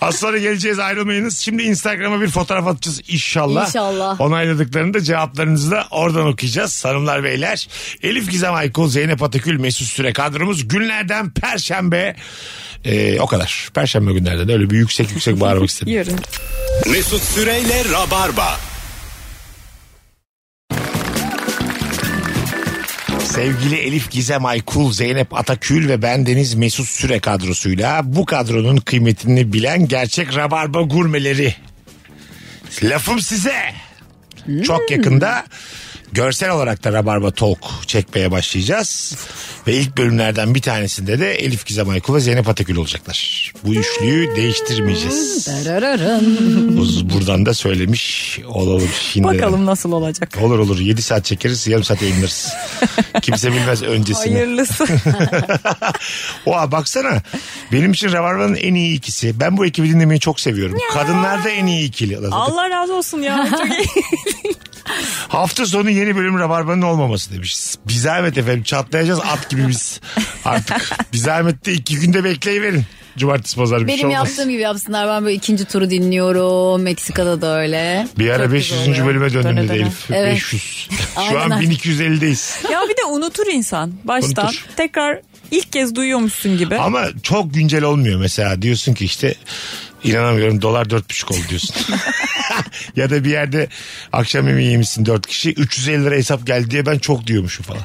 S3: Az sonra geleceğiz ayrılmayınız. Şimdi Instagram'a bir fotoğraf atacağız inşallah.
S4: İnşallah.
S3: Onayladıklarında cevaplarınızı da oradan okuyacağız. Hanımlar beyler. Elif Gizem Aykul, Zeynep Atakül, Mesut Süre kadromuz. Günlerden Perşembe. Ee, o kadar. Perşembe günlerden öyle bir yüksek yüksek bağırmak
S5: (laughs)
S3: istedim.
S5: Yarın.
S2: Mesut Süreyle Rabarba.
S3: Sevgili Elif Gizem Aykul, Zeynep Atakül ve ben Deniz Mesut Süre kadrosuyla bu kadronun kıymetini bilen gerçek rabarba gurmeleri. Lafım size. Çok yakında görsel olarak da Rabarba Talk çekmeye başlayacağız. Ve ilk bölümlerden bir tanesinde de Elif Gizem Aykul ve Zeynep Atakül olacaklar. Bu üçlüyü değiştirmeyeceğiz. Uz- Buradan da söylemiş olalım şimdi.
S5: Bakalım nasıl olacak.
S3: Olur olur 7 saat çekeriz yarım saat yayınlarız. Kimse bilmez öncesini. (laughs)
S5: Hayırlısı.
S3: Oha baksana benim için Rabarba'nın en iyi ikisi. Ben bu ekibi dinlemeyi çok seviyorum. Kadınlar da en iyi ikili. Ulan zaten
S5: Allah razı olsun ya. Çok iyi.
S3: Hafta sonu yeni bölüm Rabarba'nın olmaması demiş. Bir zahmet efendim çatlayacağız at gibi
S4: (laughs)
S3: biz artık. Bir zahmet de iki günde bekleyiverin. Cumartesi pazar bir şey
S4: Benim
S3: olmaz.
S4: yaptığım gibi yapsınlar. Ben böyle ikinci turu dinliyorum. Meksika'da da öyle.
S3: Bir ara
S4: Çok
S3: 500.
S4: güzel oluyor.
S3: bölüme döndüm dedi
S5: Döne döne.
S3: Elif.
S4: Evet.
S3: 500. Şu
S4: Aynen.
S3: an 1250'deyiz.
S5: (laughs) ya bir de unutur insan baştan.
S3: Unutur.
S5: Tekrar ilk kez duyuyormuşsun gibi.
S3: Ama çok güncel olmuyor mesela. Diyorsun ki işte inanamıyorum dolar 4,5 oldu diyorsun. ya da bir yerde akşam yemeği yemişsin 4 kişi 350 lira hesap geldi diye ben çok diyormuşum falan.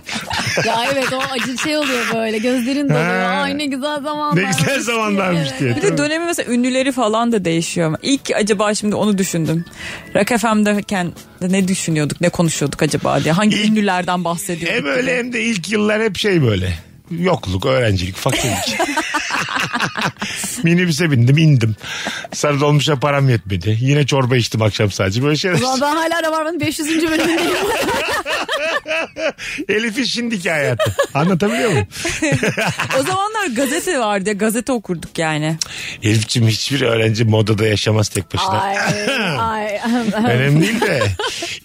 S4: Ya evet o acı şey oluyor böyle. Gözlerin doluyor.
S3: Ha.
S4: Ay ne güzel zamanlar.
S3: Ne güzel zamanlarmış diye.
S5: Bir de dönemi mesela ünlüleri falan da değişiyor. İlk acaba şimdi onu düşündüm. Rock FM'deyken de ne düşünüyorduk, ne konuşuyorduk acaba diye. Hangi
S3: İlk-
S5: ünlülerden bahsediyorduk?
S3: Hem öyle hem de ilk yıllar hep şey böyle. yokluk, öğrencilik, fakirlik. (laughs) Minibüse bindim indim. Sarı dolmuşa param yetmedi. Yine çorba içtim akşam sadece. Böyle şeyler.
S4: Ulan ben hala Rabarba'nın 500.
S5: (laughs)
S4: bölümündeyim.
S3: Elif'in şimdiki hayatı. Anlatabiliyor muyum?
S5: O zamanlar gazete vardı. Gazete okurduk yani.
S3: Elif'ciğim hiçbir öğrenci modada yaşamaz tek başına. (laughs)
S4: ay ay.
S3: Önemli değil de.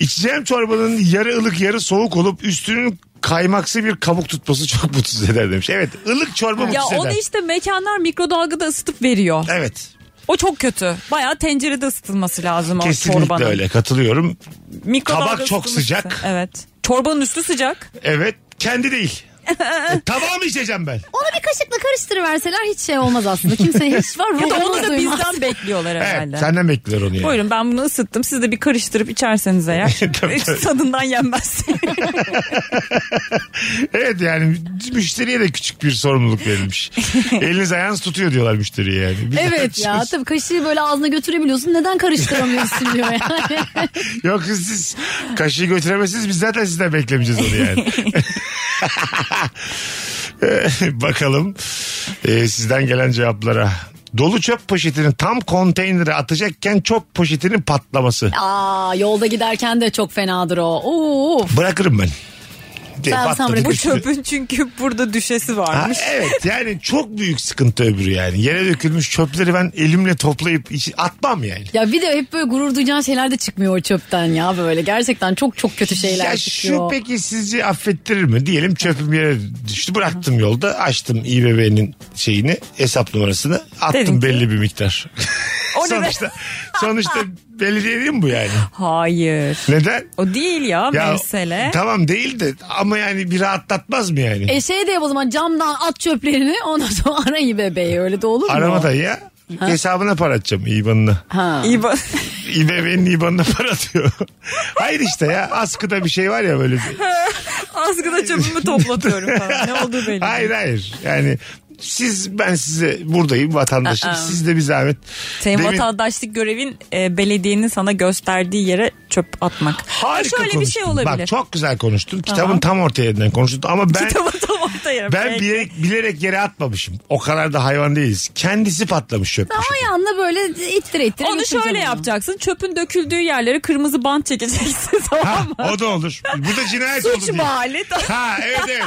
S3: İçeceğim çorbanın yarı ılık yarı soğuk olup üstünün kaymaksı bir kabuk tutması çok mutsuz eder demiş. Evet ılık çorba
S5: Ya
S3: mutsuz
S5: onu
S3: eder.
S5: işte mekanlar mikrodalgada ısıtıp veriyor.
S3: Evet.
S5: O çok kötü. Bayağı tencerede ısıtılması lazım o
S3: Kesinlikle
S5: çorbanın.
S3: öyle katılıyorum.
S5: Mikrodalga
S3: Tabak çok
S5: ısıtılması.
S3: sıcak.
S5: Evet. Çorbanın üstü sıcak.
S3: Evet kendi
S4: (laughs)
S3: değil. e, tabağı mı içeceğim ben?
S4: Onu bir kaşıkla karıştırıverseler hiç şey olmaz aslında. Kimse hiç var.
S5: Ya da onu
S4: ruhumuz
S5: da
S4: duymaz.
S5: bizden bekliyorlar herhalde.
S3: Evet, senden bekliyor onu yani.
S5: Buyurun ben bunu ısıttım. Siz de bir karıştırıp içerseniz eğer.
S3: (laughs) Tabii,
S5: Hiç
S3: tabii. (laughs)
S5: tadından yenmez.
S3: Evet yani müşteriye de küçük bir sorumluluk
S4: (laughs)
S3: verilmiş. Eliniz ayağınız tutuyor diyorlar müşteriye yani. Bir
S4: (laughs)
S3: şey
S4: Evet ya tabii kaşığı böyle ağzına götürebiliyorsun. Neden karıştıramıyorsun diyor
S5: (laughs)
S4: yani.
S3: Yok kız siz kaşığı götüremezsiniz biz zaten sizden beklemeyeceğiz onu yani. (laughs) Ee, Bakalım ee, sizden gelen cevaplara. Dolu çöp poşetinin tam konteynere atacakken çöp poşetinin patlaması.
S4: Aa yolda giderken de çok fenadır o. Oo.
S3: Bırakırım ben. Ee,
S4: sen
S3: patladı
S4: bırak.
S5: Bu
S3: düştü.
S5: çöpün çünkü burada düşesi
S3: Ha,
S5: varmış.
S3: evet yani çok büyük sıkıntı öbürü yani. Yere dökülmüş çöpleri ben elimle toplayıp içi- atmam yani.
S4: Ya bir de hep böyle gurur duyacağın şeyler de çıkmıyor o çöpten ya böyle. Gerçekten çok çok kötü şeyler
S3: ya şu
S4: çıkıyor.
S3: peki sizce affettirir mi? Diyelim çöpüm yere düştü bıraktım yolda açtım İBB'nin şeyini hesap numarasını attım
S5: Dedim ki-
S3: belli bir miktar.
S5: (laughs) O ne be?
S3: sonuçta, sonuçta belediye değil mi bu yani?
S5: Hayır.
S3: Neden?
S5: O değil ya,
S3: Ya,
S5: mesele.
S3: Tamam değil de ama yani bir rahatlatmaz mı yani?
S4: E şey de yap o zaman camdan at çöplerini ondan sonra (laughs) ara iyi bebeği öyle de olur mu?
S3: Arama da ya. Hesabına para atacağım İBAN'ına.
S4: Ha.
S5: İyi bak.
S3: İBB'nin İBAN'ına para atıyor. (laughs) Hayır işte ya askıda bir şey var ya böyle. bir-
S5: (laughs) Azgıda çöpümü toplatıyorum
S3: (laughs)
S5: falan. Ne oldu belli.
S3: Hayır hayır. Yani siz ben size buradayım vatandaşım.
S5: Aa.
S3: Siz de bir zahmet.
S5: Senin
S3: Demin-
S5: vatandaşlık görevin e, belediyenin sana gösterdiği yere çöp atmak.
S3: Harika
S5: Şöyle bir şey
S3: konuştun.
S5: olabilir.
S3: Bak çok güzel konuştun. Kitabın tam orta yerinden konuştun ama ben
S5: Kitabı (laughs) tam orta yere.
S3: ben
S5: Peki.
S3: bilerek, bilerek yere atmamışım. O kadar da hayvan değiliz. Kendisi patlamış çöp. poşeti.
S4: Ayağınla böyle ittire ittire.
S5: Onu
S4: götüreceğim
S5: şöyle yapacaksın. Çöpün döküldüğü yerlere kırmızı bant çekeceksin (laughs)
S3: Ha,
S5: tamam mı?
S3: o da olur. Burada cinayet oldu
S5: Suç
S3: diye.
S5: mahalli.
S3: Ha evet evet.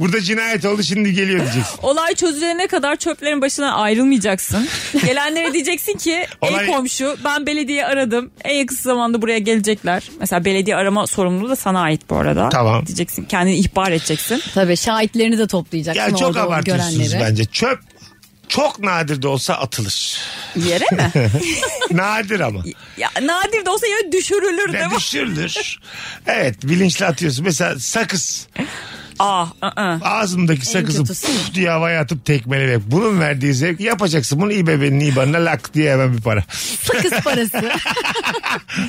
S3: Burada cinayet oldu şimdi geliyor diyeceksin.
S5: (laughs) Olay çözülene kadar çöplerin başına ayrılmayacaksın. Gelenlere diyeceksin ki
S3: Olay-
S5: ey komşu ben belediye aradım. En yakın zamanda buraya gelecekler. Mesela belediye arama sorumluluğu da sana ait bu arada.
S3: Tamam.
S5: Diyeceksin kendini ihbar edeceksin.
S4: Tabii şahitlerini de toplayacaksın
S3: Ya çok
S4: orada o
S3: abartıyorsunuz
S4: görenleri.
S3: bence. Çöp çok nadir de olsa atılır.
S5: Yere mi?
S3: (laughs) nadir
S5: (laughs)
S3: ama.
S5: ya, nadir de olsa yere düşürülür değil
S3: Ya
S5: mi?
S3: düşürülür. Evet bilinçli atıyorsun. Mesela sakız.
S5: Aa, ı-ı.
S3: Ağzımdaki sakızı
S4: kötüsü.
S3: puf diye havaya atıp tekmeleyerek. Bunun verdiği zevk yapacaksın. Bunu İBB'nin İBAN'ına lak diye hemen bir
S5: (laughs)
S3: para.
S4: Sakız parası.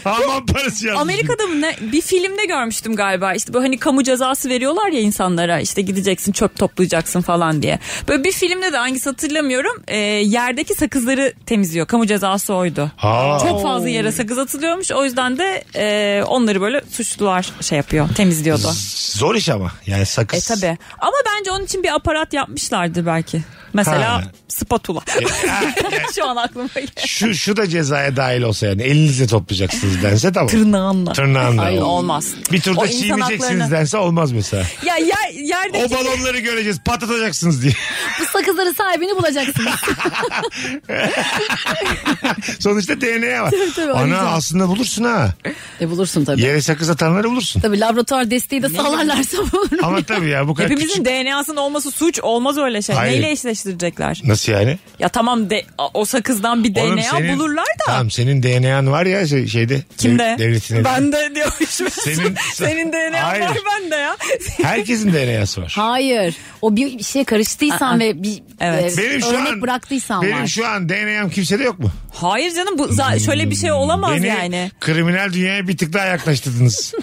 S3: Aman parası yazmış.
S5: Amerika'da mı ne? Bir filmde görmüştüm galiba. İşte böyle hani kamu cezası veriyorlar ya insanlara. işte gideceksin çöp toplayacaksın falan diye. Böyle bir filmde de hangisi hatırlamıyorum. Ee, yerdeki sakızları temizliyor. Kamu cezası oydu.
S3: Ha.
S5: Çok fazla yere sakız atılıyormuş. O yüzden de e, onları böyle suçlular şey yapıyor. Temizliyordu.
S3: Zor iş ama. Yani
S5: E
S3: sakız.
S5: tabi. Ama bence onun için bir aparat yapmışlardır belki. Mesela
S3: Ha. E,
S5: spatula. (laughs)
S3: Ha,
S5: Şu an aklıma geldi.
S3: şu, şu da cezaya dahil olsa yani. Elinizle toplayacaksınız dense tamam.
S5: Tırnağınla.
S3: Tırnağınla.
S5: Ay, olmaz.
S3: Bir turda
S5: O insan
S3: çiğneyeceksiniz
S5: haklarını-
S3: dense olmaz
S5: (laughs)
S3: mesela.
S5: Ya yer, yerdeki...
S3: O balonları göreceğiz patlatacaksınız diye. (laughs)
S4: Bu sakızların sahibini bulacaksınız.
S3: Sonuçta DNA var.
S4: tabii,
S3: Ana
S4: arayacağım.
S3: aslında bulursun ha.
S4: e bulursun tabii.
S3: Yere sakız atanları bulursun.
S4: Tabii laboratuvar desteği de sağlarlarsa bulur.
S3: Ama tabii ya bu kadar
S5: Hepimizin
S3: küçük-
S5: DNA'sının olması suç olmaz öyle şey.
S3: Hayır.
S5: Neyle eşleştirecekler?
S3: Nasıl yani?
S5: Ya tamam de, o sakızdan bir
S3: Oğlum
S5: DNA
S3: senin-
S5: bulurlar da.
S3: Tamam senin DNA'n var ya şey- şeyde.
S5: Kimde?
S3: dev- Devletin.
S5: Ben de
S3: (laughs)
S5: diyormuşum.
S3: Senin-
S5: Senin, (laughs) senin DNA'n var
S3: Hayır.
S5: bende ya.
S3: Herkesin DNA'sı var.
S4: Hayır. O bir şeye karıştıysan ve bir
S5: Evet.
S4: e,
S3: Benim şu
S4: örnek
S3: an
S4: bıraktıysan
S3: benim
S4: var.
S3: şu an DNA'm kimsede yok mu?
S5: Hayır canım bu za- şöyle bir şey olamaz
S3: Hmm. Beni
S5: yani. (laughs)
S3: kriminal dünyaya bir tık daha yaklaştırdınız.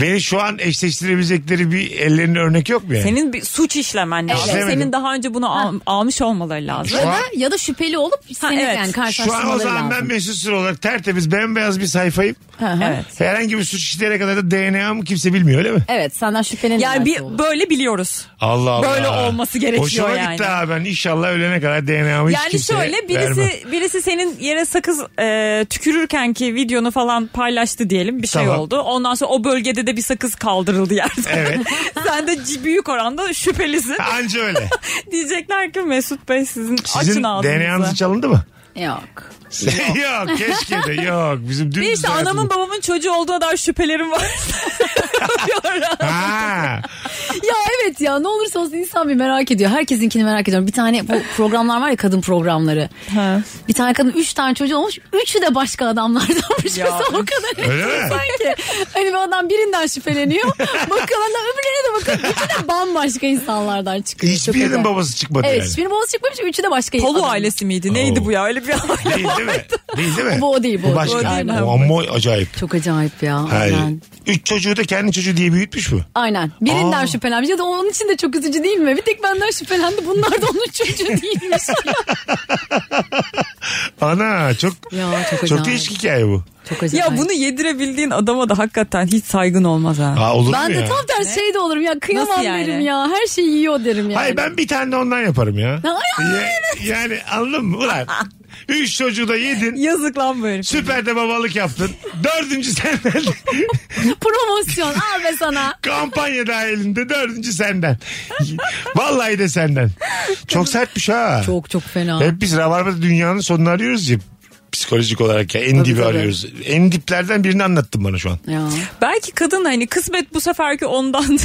S3: Beni şu an eşleştirebilecekleri bir ellerinin örnek yok mu yani?
S5: Senin bir suç işlemen lazım.
S3: İşlemedim.
S5: Senin daha önce bunu al- almış olmaları lazım.
S3: Şu
S4: Ya
S3: an-
S4: da, ya da şüpheli olup seni
S5: evet.
S4: yani
S3: Şu an o
S4: karşılaştırmaları
S3: zaman
S4: lazım.
S3: ben Mesut Süre olarak tertemiz bembeyaz bir sayfayım.
S5: Evet.
S3: Herhangi bir suç işleyene kadar da DNA'm kimse bilmiyor öyle mi?
S4: Evet senden şüpheleniyor.
S5: Yani
S4: belki
S5: bir,
S4: olur.
S5: böyle biliyoruz.
S3: Allah Allah.
S5: Böyle olması gerekiyor
S3: Hoşuma
S5: yani.
S3: gitti ha ben inşallah ölene kadar DNA'mı hiç
S5: Yani
S3: kimseye
S5: şöyle birisi
S3: vermem.
S5: birisi senin yere sakız e, tükürürken ki videonu falan paylaştı diyelim bir şey
S3: Tamam.
S5: oldu. Ondan sonra o bölgede de bir sakız kaldırıldı yerde.
S3: Evet.
S5: (laughs) Sen de c- büyük oranda şüphelisin.
S3: Anca
S4: (laughs)
S3: öyle.
S5: Diyecekler ki Mesut Bey sizin,
S3: Sizin
S5: açın ağzınızı.
S3: DNA'nız çalındı mı?
S4: Yok.
S3: (laughs) yok keşke de yok. Bizim dün
S5: Bir işte anamın babamın çocuğu olduğu kadar
S3: (laughs)
S5: şüphelerim var. Diyorlar.
S3: Ha.
S4: Ya evet ya ne olursa olsun insan bir merak ediyor. Herkesinkini merak ediyorum. Bir tane bu programlar var ya kadın programları.
S5: Ha.
S4: Bir tane kadın üç tane çocuğu olmuş. Üçü de başka adamlardanmış.
S5: Ya.
S4: Mesela o kadar
S3: Öyle mi?
S4: enteresan ki. Hani bir adam birinden şüpheleniyor.
S3: (laughs)
S4: Bakalım da öbürlerine de bakın. Üçü de bambaşka insanlardan çıkıyor. Çok
S3: Hiçbirinin
S4: acayip.
S3: babası çıkmadı
S4: Evet
S3: yani.
S4: hiçbirinin babası çıkmamış. Üçü de başka
S5: Polu
S4: adam.
S5: ailesi miydi? Neydi
S3: Oo.
S5: bu ya? Öyle bir
S4: (laughs)
S5: aile.
S3: Değil değil mi? Değil değil mi?
S4: Bu o değil, bu o
S3: başka.
S4: değil. Aynen.
S3: O amma acayip.
S4: Çok acayip ya.
S3: Hayır.
S4: Aynen.
S3: Üç çocuğu da kendi çocuğu diye büyütmüş mü?
S4: Aynen. Birinden
S3: Aa.
S4: şüphelenmiş. Ya da onun için de çok üzücü değil mi? Bir tek benden şüphelendi. Bunlar da onun çocuğu
S3: (laughs)
S4: değilmiş.
S3: Ana çok
S4: ya çok acayip.
S3: çok değişik hikaye bu.
S4: Çok acayip.
S5: ya bunu yedirebildiğin adama da hakikaten hiç saygın olmaz ha.
S3: Aa, olur
S4: ben
S3: mu ya?
S4: de tam tersi şey de olurum ya kıyamam
S5: Nasıl yani?
S4: derim ya her şeyi yiyor derim yani.
S3: Hayır ben bir tane de ondan yaparım ya.
S4: Ay, ay,
S3: Ya- yani anladın mı?
S4: (laughs)
S3: Ulan üç çocuğu da yedin.
S5: Yazık lan bu herif.
S3: Süper de babalık yaptın. Dördüncü senden. (laughs)
S4: Promosyon al be sana.
S3: Kampanya dahilinde dördüncü senden. Vallahi de senden. Çok sertmiş ha.
S4: Çok çok fena.
S3: Hep biz Rabarba'da dünyanın sonunu arıyoruz ya. Psikolojik olarak ya en dibi
S4: tabii.
S3: arıyoruz. En diplerden birini anlattın bana şu an.
S4: Ya.
S5: Belki kadın hani kısmet bu seferki (laughs) ondandır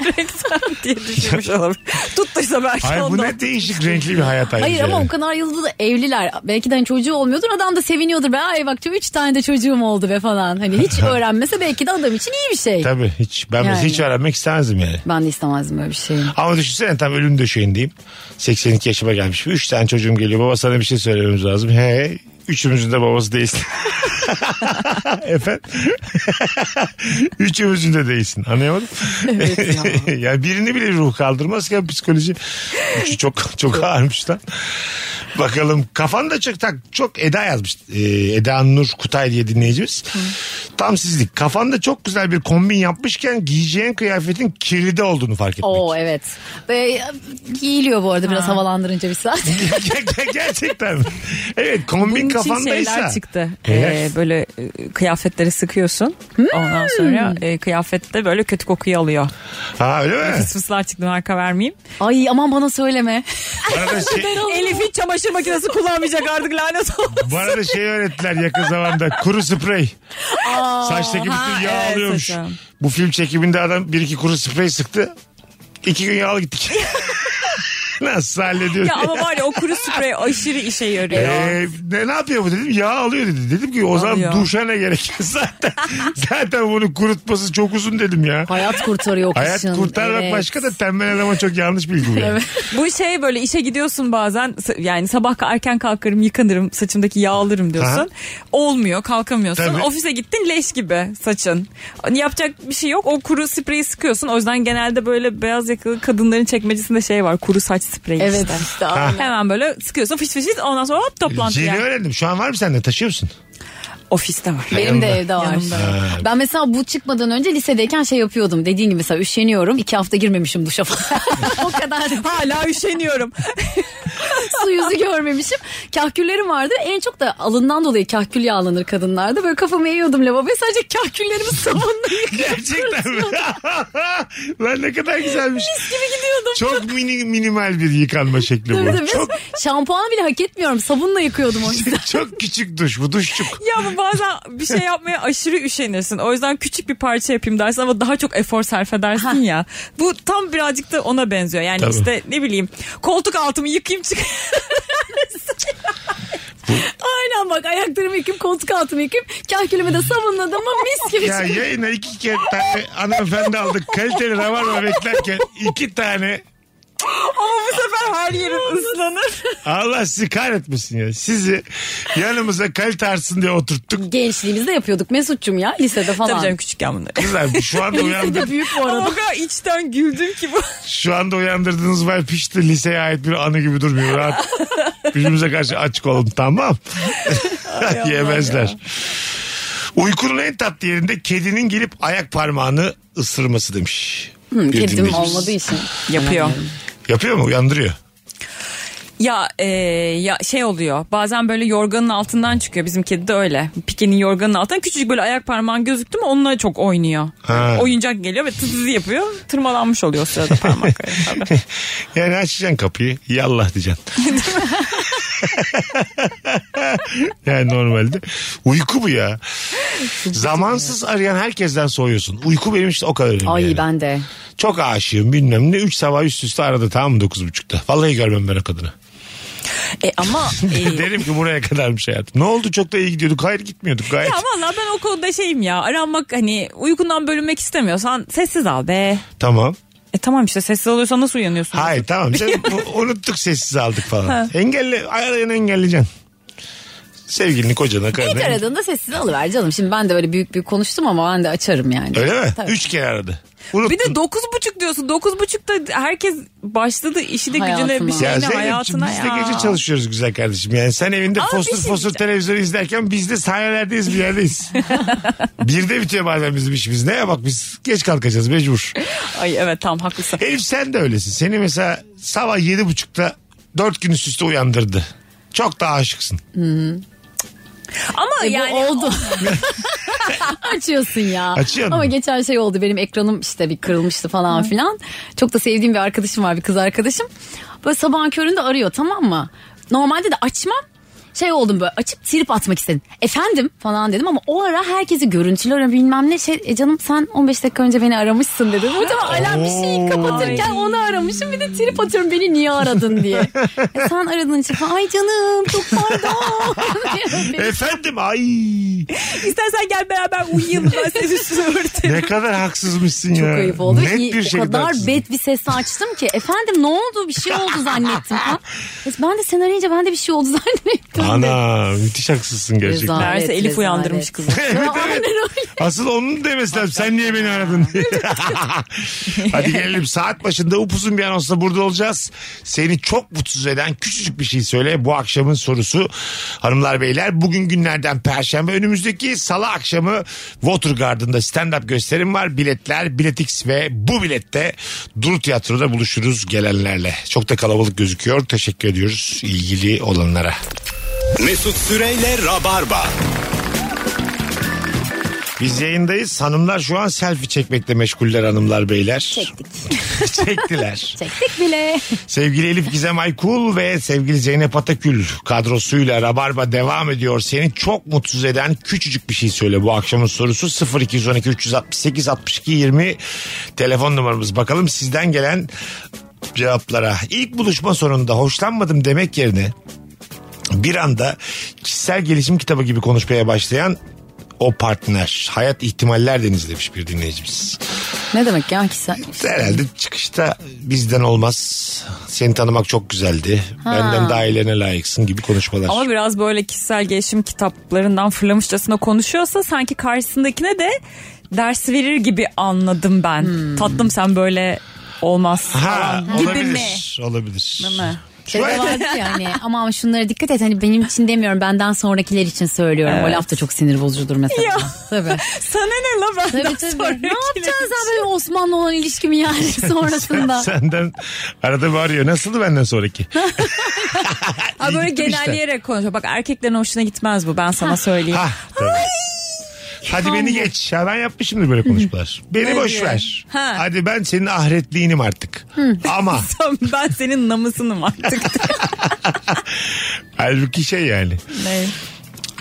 S5: diyerekten diye düşünmüş olabilir. Tuttuysa belki
S3: Hayır bu
S5: ondan.
S3: ne değişik renkli bir hayat ayrıca.
S4: Hayır ama o kadar yılda da evliler. Belki de hani çocuğu olmuyordur adam da seviniyordur. Be ay bak üç tane de çocuğum oldu be falan.
S3: (laughs)
S4: Hani hiç öğrenmese belki de adam için iyi bir şey.
S3: Tabii hiç. Ben mesela
S4: Yani.
S3: hiç öğrenmek istemezdim yani.
S4: Ben de istemezdim öyle bir şey.
S3: Ama düşünsene tam ölüm döşeğindeyim. 82 yaşıma gelmiş. 3 tane çocuğum geliyor. Baba sana bir şey söylememiz lazım. He. Üçümüzün de babası değilsin. (laughs) Efendim? (laughs) Üçümüzün de değilsin. Anlayamadım. (laughs) ya. birini bile ruh kaldırmazken psikoloji. Üçü çok çok ağırmış lan. Bakalım kafanda çok tak çok Eda yazmış. Ee, Eda Nur Kutay diye dinleyicimiz. Tam sizlik. Kafanda çok güzel bir kombin yapmışken giyeceğin kıyafetin kirli de olduğunu fark etmek.
S4: Oo evet. Ve giyiliyor bu arada biraz havalandırınca bir saat. (laughs)
S3: Ger- Gerçekten. mi? Evet kombin
S5: Bunun için
S3: kafandaysa.
S5: şeyler çıktı.
S3: Evet.
S5: Ee, böyle e, kıyafetleri sıkıyorsun.
S4: Hmm.
S5: Ondan sonra e, kıyafette böyle kötü kokuyu alıyor.
S3: Ha öyle mi?
S5: Fıs fıslar çıktı marka vermeyeyim.
S4: Ay aman bana söyleme.
S3: Bana da
S5: (laughs)
S3: şey,
S5: Elif hiç çamaşır makinesi kullanmayacak artık lanet olsun.
S3: bana da şey öğrettiler yakın zamanda. Kuru sprey. Saçtaki
S5: ha,
S3: bütün yağ
S5: evet,
S3: alıyormuş.
S5: saçım.
S3: Bu film çekiminde adam bir iki kuru sprey sıktı. İki gün yağlı
S5: (laughs)
S3: gittik. Nasıl hallediyor?
S5: ya ama var ya o kuru sprey aşırı işe yarıyor.
S3: Ee, ne, ne yapıyor bu dedim yağ alıyor dedi. Dedim ki o zaman
S5: Alıyor.
S3: duşa ne gerek (laughs) zaten zaten bunu kurutması çok uzun dedim ya.
S4: Hayat kurtarıyor o
S3: Hayat
S4: kışın.
S3: kurtarmak
S4: Evet.
S3: başka da tembel adama çok yanlış bilgi bu. yani.
S5: Bu şey böyle işe gidiyorsun bazen s- yani sabah erken kalkarım yıkanırım saçımdaki yağ alırım diyorsun.
S3: Aha.
S5: Olmuyor kalkamıyorsun.
S3: Tabii.
S5: Ofise gittin leş gibi saçın. Yapacak bir şey yok o kuru spreyi sıkıyorsun. O yüzden genelde böyle beyaz yakalı kadınların çekmecesinde şey var kuru saç spreyi
S4: Evet
S5: işte.
S4: işte. aynen.
S5: Hemen böyle sıkıyorsun fış fış fış ondan sonra hop toplantı
S3: Yeni
S5: yani.
S3: öğrendim. Şu an var mı sende? Taşıyor musun?
S5: Ofiste var.
S4: Benim de evde var. Ben mesela bu çıkmadan önce lisedeyken şey yapıyordum. Dediğin gibi mesela üşeniyorum. iki hafta girmemişim duşa falan. (laughs) o kadar
S5: Hala üşeniyorum.
S4: su yüzü görmemişim. Kahküllerim vardı. En çok da alından dolayı kahkül yağlanır kadınlarda. Böyle kafamı eğiyordum lavaboya. Sadece kahküllerimi sabunla yıkıyordum.
S3: Gerçekten (laughs) mi? Lan ne kadar güzelmiş.
S4: gibi gidiyordum.
S3: Çok mini, minimal bir yıkanma şekli bu.
S4: Biz
S3: Çok
S4: Şampuanı bile hak etmiyorum. Sabunla yıkıyordum o yüzden.
S3: çok (laughs) küçük duş bu duşçuk.
S5: Ya bu bazen bir şey yapmaya aşırı üşenirsin. O yüzden küçük bir parça yapayım dersin ama daha çok efor sarf edersin ya. Bu tam birazcık da ona benziyor. Yani
S3: Tabii.
S5: işte ne bileyim koltuk altımı yıkayayım çık. (laughs)
S4: Aynen bak ayaklarımı yıkayıp koltuk altımı yıkayıp kahkülümü de sabunladım ama mis gibi şey.
S3: Ya
S4: çıkıyor.
S3: yayına iki ke- tane hanımefendi aldık. Kaliteli rabarba beklerken iki tane
S5: ama bu sefer her yerim ıslanır.
S3: Allah sizi kahretmesin ya. Sizi yanımıza kalite artsın diye oturttuk.
S4: Gençliğimizde yapıyorduk Mesut'cum ya lisede falan.
S5: Tabii canım küçükken bunları.
S3: Kızlar şu anda uyandı.
S4: Lisede büyük bu
S5: Ama
S4: arada.
S5: o kadar içten güldüm
S4: (laughs)
S5: ki bu.
S3: Şu anda uyandırdığınız var pişti liseye ait bir anı gibi durmuyor.
S4: (laughs)
S3: Rahat. Birbirimize karşı açık olun tamam. (laughs) Yemezler. Uykunun en tatlı yerinde kedinin gelip ayak parmağını ısırması demiş.
S4: Hı,
S3: Bir
S4: Hmm, Kedim
S3: dinleyicimiz.
S4: olmadığı için.
S5: Yapıyor.
S3: Yapıyor mu? Uyandırıyor. (laughs)
S5: Ya, e, ya şey oluyor bazen böyle yorganın altından çıkıyor bizim kedi de öyle pikenin yorganın altından küçücük böyle ayak parmağın gözüktü mü onunla çok oynuyor
S3: Ha.
S5: oyuncak geliyor ve tız tız yapıyor tırmalanmış oluyor o sırada parmakları Tabii.
S3: Yani açacaksın kapıyı. Yallah
S4: (laughs)
S3: diyeceksin. (laughs) yani normalde. Uyku bu ya. Zamansız arayan herkesten soğuyorsun. Uyku benim işte o kadar önemli.
S4: Ay
S3: yani.
S4: (laughs) ben de.
S3: Çok aşığım bilmem ne. Üç sabah üst üste aradı tamam mı dokuz buçukta. Vallahi görmem ben o kadını.
S5: e,
S3: (laughs)
S5: ama e,
S3: Derim ki buraya kadarmış hayatım. Ne oldu çok da iyi gidiyorduk. Hayır gitmiyorduk gayet.
S5: Ya valla ben o konuda şeyim ya. Aranmak hani uykundan bölünmek istemiyorsan sessiz al be.
S3: Tamam.
S5: E tamam işte sessiz oluyorsan nasıl uyanıyorsun? (laughs)
S3: Hayır tamam. Canım, bu- unuttuk sessiz aldık falan. Engelle, arayan engelleyeceksin. Sevgilini kocana
S4: İlk
S3: karına.
S4: aradığında sessiz alıver canım. Şimdi ben de böyle büyük büyük konuştum ama ben de açarım yani.
S3: Öyle mi?
S4: Tabii.
S3: Üç kere aradı. Unuttun.
S5: Bir de dokuz buçuk diyorsun. Dokuz buçukta herkes başladı işi de gücüne
S4: Hayatına.
S5: bir şeyine
S3: Zeynep'ciğim,
S5: hayatına
S3: biz
S5: ya.
S3: de gece çalışıyoruz güzel kardeşim. Yani sen evinde
S5: Ama
S3: fosur
S5: bir şey
S3: fosur televizyonu izlerken biz de sahnelerdeyiz bir
S5: (laughs)
S3: yerdeyiz. bir de bitiyor bazen bizim işimiz. Ne ya bak biz geç kalkacağız mecbur.
S5: Ay evet tamam haklısın.
S3: Elif sen de öylesin. Seni mesela sabah yedi buçukta dört gün üst üste uyandırdı. Çok daha aşıksın.
S5: Ama
S4: E, bu
S5: yani
S4: oldu. (laughs) Açıyorsun ya.
S3: Açıyorsun
S4: Ama
S3: mu?
S4: geçen şey oldu benim ekranım işte bir kırılmıştı falan filan. Çok da sevdiğim bir arkadaşım var bir kız arkadaşım. Böyle sabahın köründe arıyor tamam mı? Normalde de açmam. Şey oldum böyle açıp trip atmak istedim. Efendim falan dedim ama o ara herkesi görüntülüyorum bilmem ne. Şey, e canım sen 15 dakika önce beni aramışsın dedim. Hocam alarm bir şeyi kapatırken onu aramışım bir de trip atıyorum beni niye aradın diye. E, sen aradığın için falan, ay canım çok pardon. (laughs)
S3: Efendim ay
S5: istersen gel beraber uyuyalım ben
S3: (laughs)
S5: senin üstünü örterim.
S3: ne kadar haksızmışsın
S4: Çok
S3: ya.
S4: ayıp oldu.
S3: Net bir
S4: İyi,
S3: şey
S4: o
S3: şekilde
S4: kadar
S3: haksızdın.
S4: bet bir sesle açtım ki. Efendim ne oldu? Bir şey oldu zannettim.
S3: (laughs)
S4: Ha? Ben de sen arayınca ben de bir şey oldu (laughs) zannettim. de.
S3: Ana müthiş haksızsın gerçekten.
S4: Rezalet,
S5: Meğerse Elif
S4: rezalet.
S5: uyandırmış
S3: (laughs)
S5: kızı.
S4: Ya, aynen öyle.
S3: Asıl onun demesi lazım. Sen niye beni
S4: (laughs)
S3: aradın diye. Hadi gelelim saat başında upuzun bir anonsla burada olacağız. Seni çok mutsuz eden küçücük bir şey söyle. Bu akşamın sorusu hanımlar beyler. Bugün günlerden perşembe önümüzdeki salı akşamı Watergarden'da stand-up gösterim var. Biletler Biletix ve bu bilette Duru Tiyatro'da buluşuruz gelenlerle. Çok da kalabalık gözüküyor. Teşekkür ediyoruz ilgili olanlara.
S2: Mesut Süreyle Rabarba.
S3: Biz yayındayız. Hanımlar şu an selfie çekmekle meşguller hanımlar beyler.
S4: Çektik.
S3: (laughs) Çektiler.
S4: Çektik bile.
S3: Sevgili Elif Gizem Aykul ve sevgili Zeynep Atakül kadrosuyla Rabarba devam ediyor. Seni çok mutsuz eden küçücük bir şey söyle bu akşamın sorusu 0212 368 62 20 telefon numaramız. Bakalım sizden gelen cevaplara. İlk buluşma sonunda hoşlanmadım demek yerine bir anda kişisel gelişim kitabı gibi konuşmaya başlayan o partner. Hayat ihtimaller denizi demiş bir dinleyicimiz.
S4: ne demek ya Şey kişisel?
S3: Herhalde çıkışta bizden olmaz. Seni tanımak çok güzeldi. Benden daha iyilerine layıksın gibi konuşmalar.
S5: Ama biraz böyle kişisel gelişim kitaplarından fırlamışçasına konuşuyorsa sanki karşısındakine de ders verir gibi anladım ben. Tatlım sen böyle olmaz
S3: Hmm. ha,
S5: falan gibi mi?
S3: olabilir. Olabilir.
S5: mi?
S3: Şu
S4: Şey de
S3: an
S4: vardı yani ama şunlara dikkat et hani benim için demiyorum benden sonrakiler için söylüyorum. O laf da çok sinir bozucudur mesela.
S5: Ya.
S4: Tabii.
S5: Sana ne la benden
S4: Tabii tabii.
S5: sonra?
S4: Ne yapacaksın sen böyle Osmanlı olan ilişkimi
S3: (laughs)
S4: yani sonrasında?
S3: senden arada bağırıyor. Nasıldı benden sonraki?
S5: Ha, böyle
S3: Gittim işte.
S5: genelleyerek konuşuyor. Bak erkeklerin hoşuna gitmez bu ben sana söyleyeyim.
S3: Ha, tabii. Hadi beni geç. Ya ben yapmışımdır böyle konuşmalar. Beni boş ver.
S5: Ha.
S3: Hadi ben senin ahretliğinim artık. Ama
S5: Tamam, ben senin
S4: (laughs)
S5: namısınım artık.
S3: halbuki şey yani.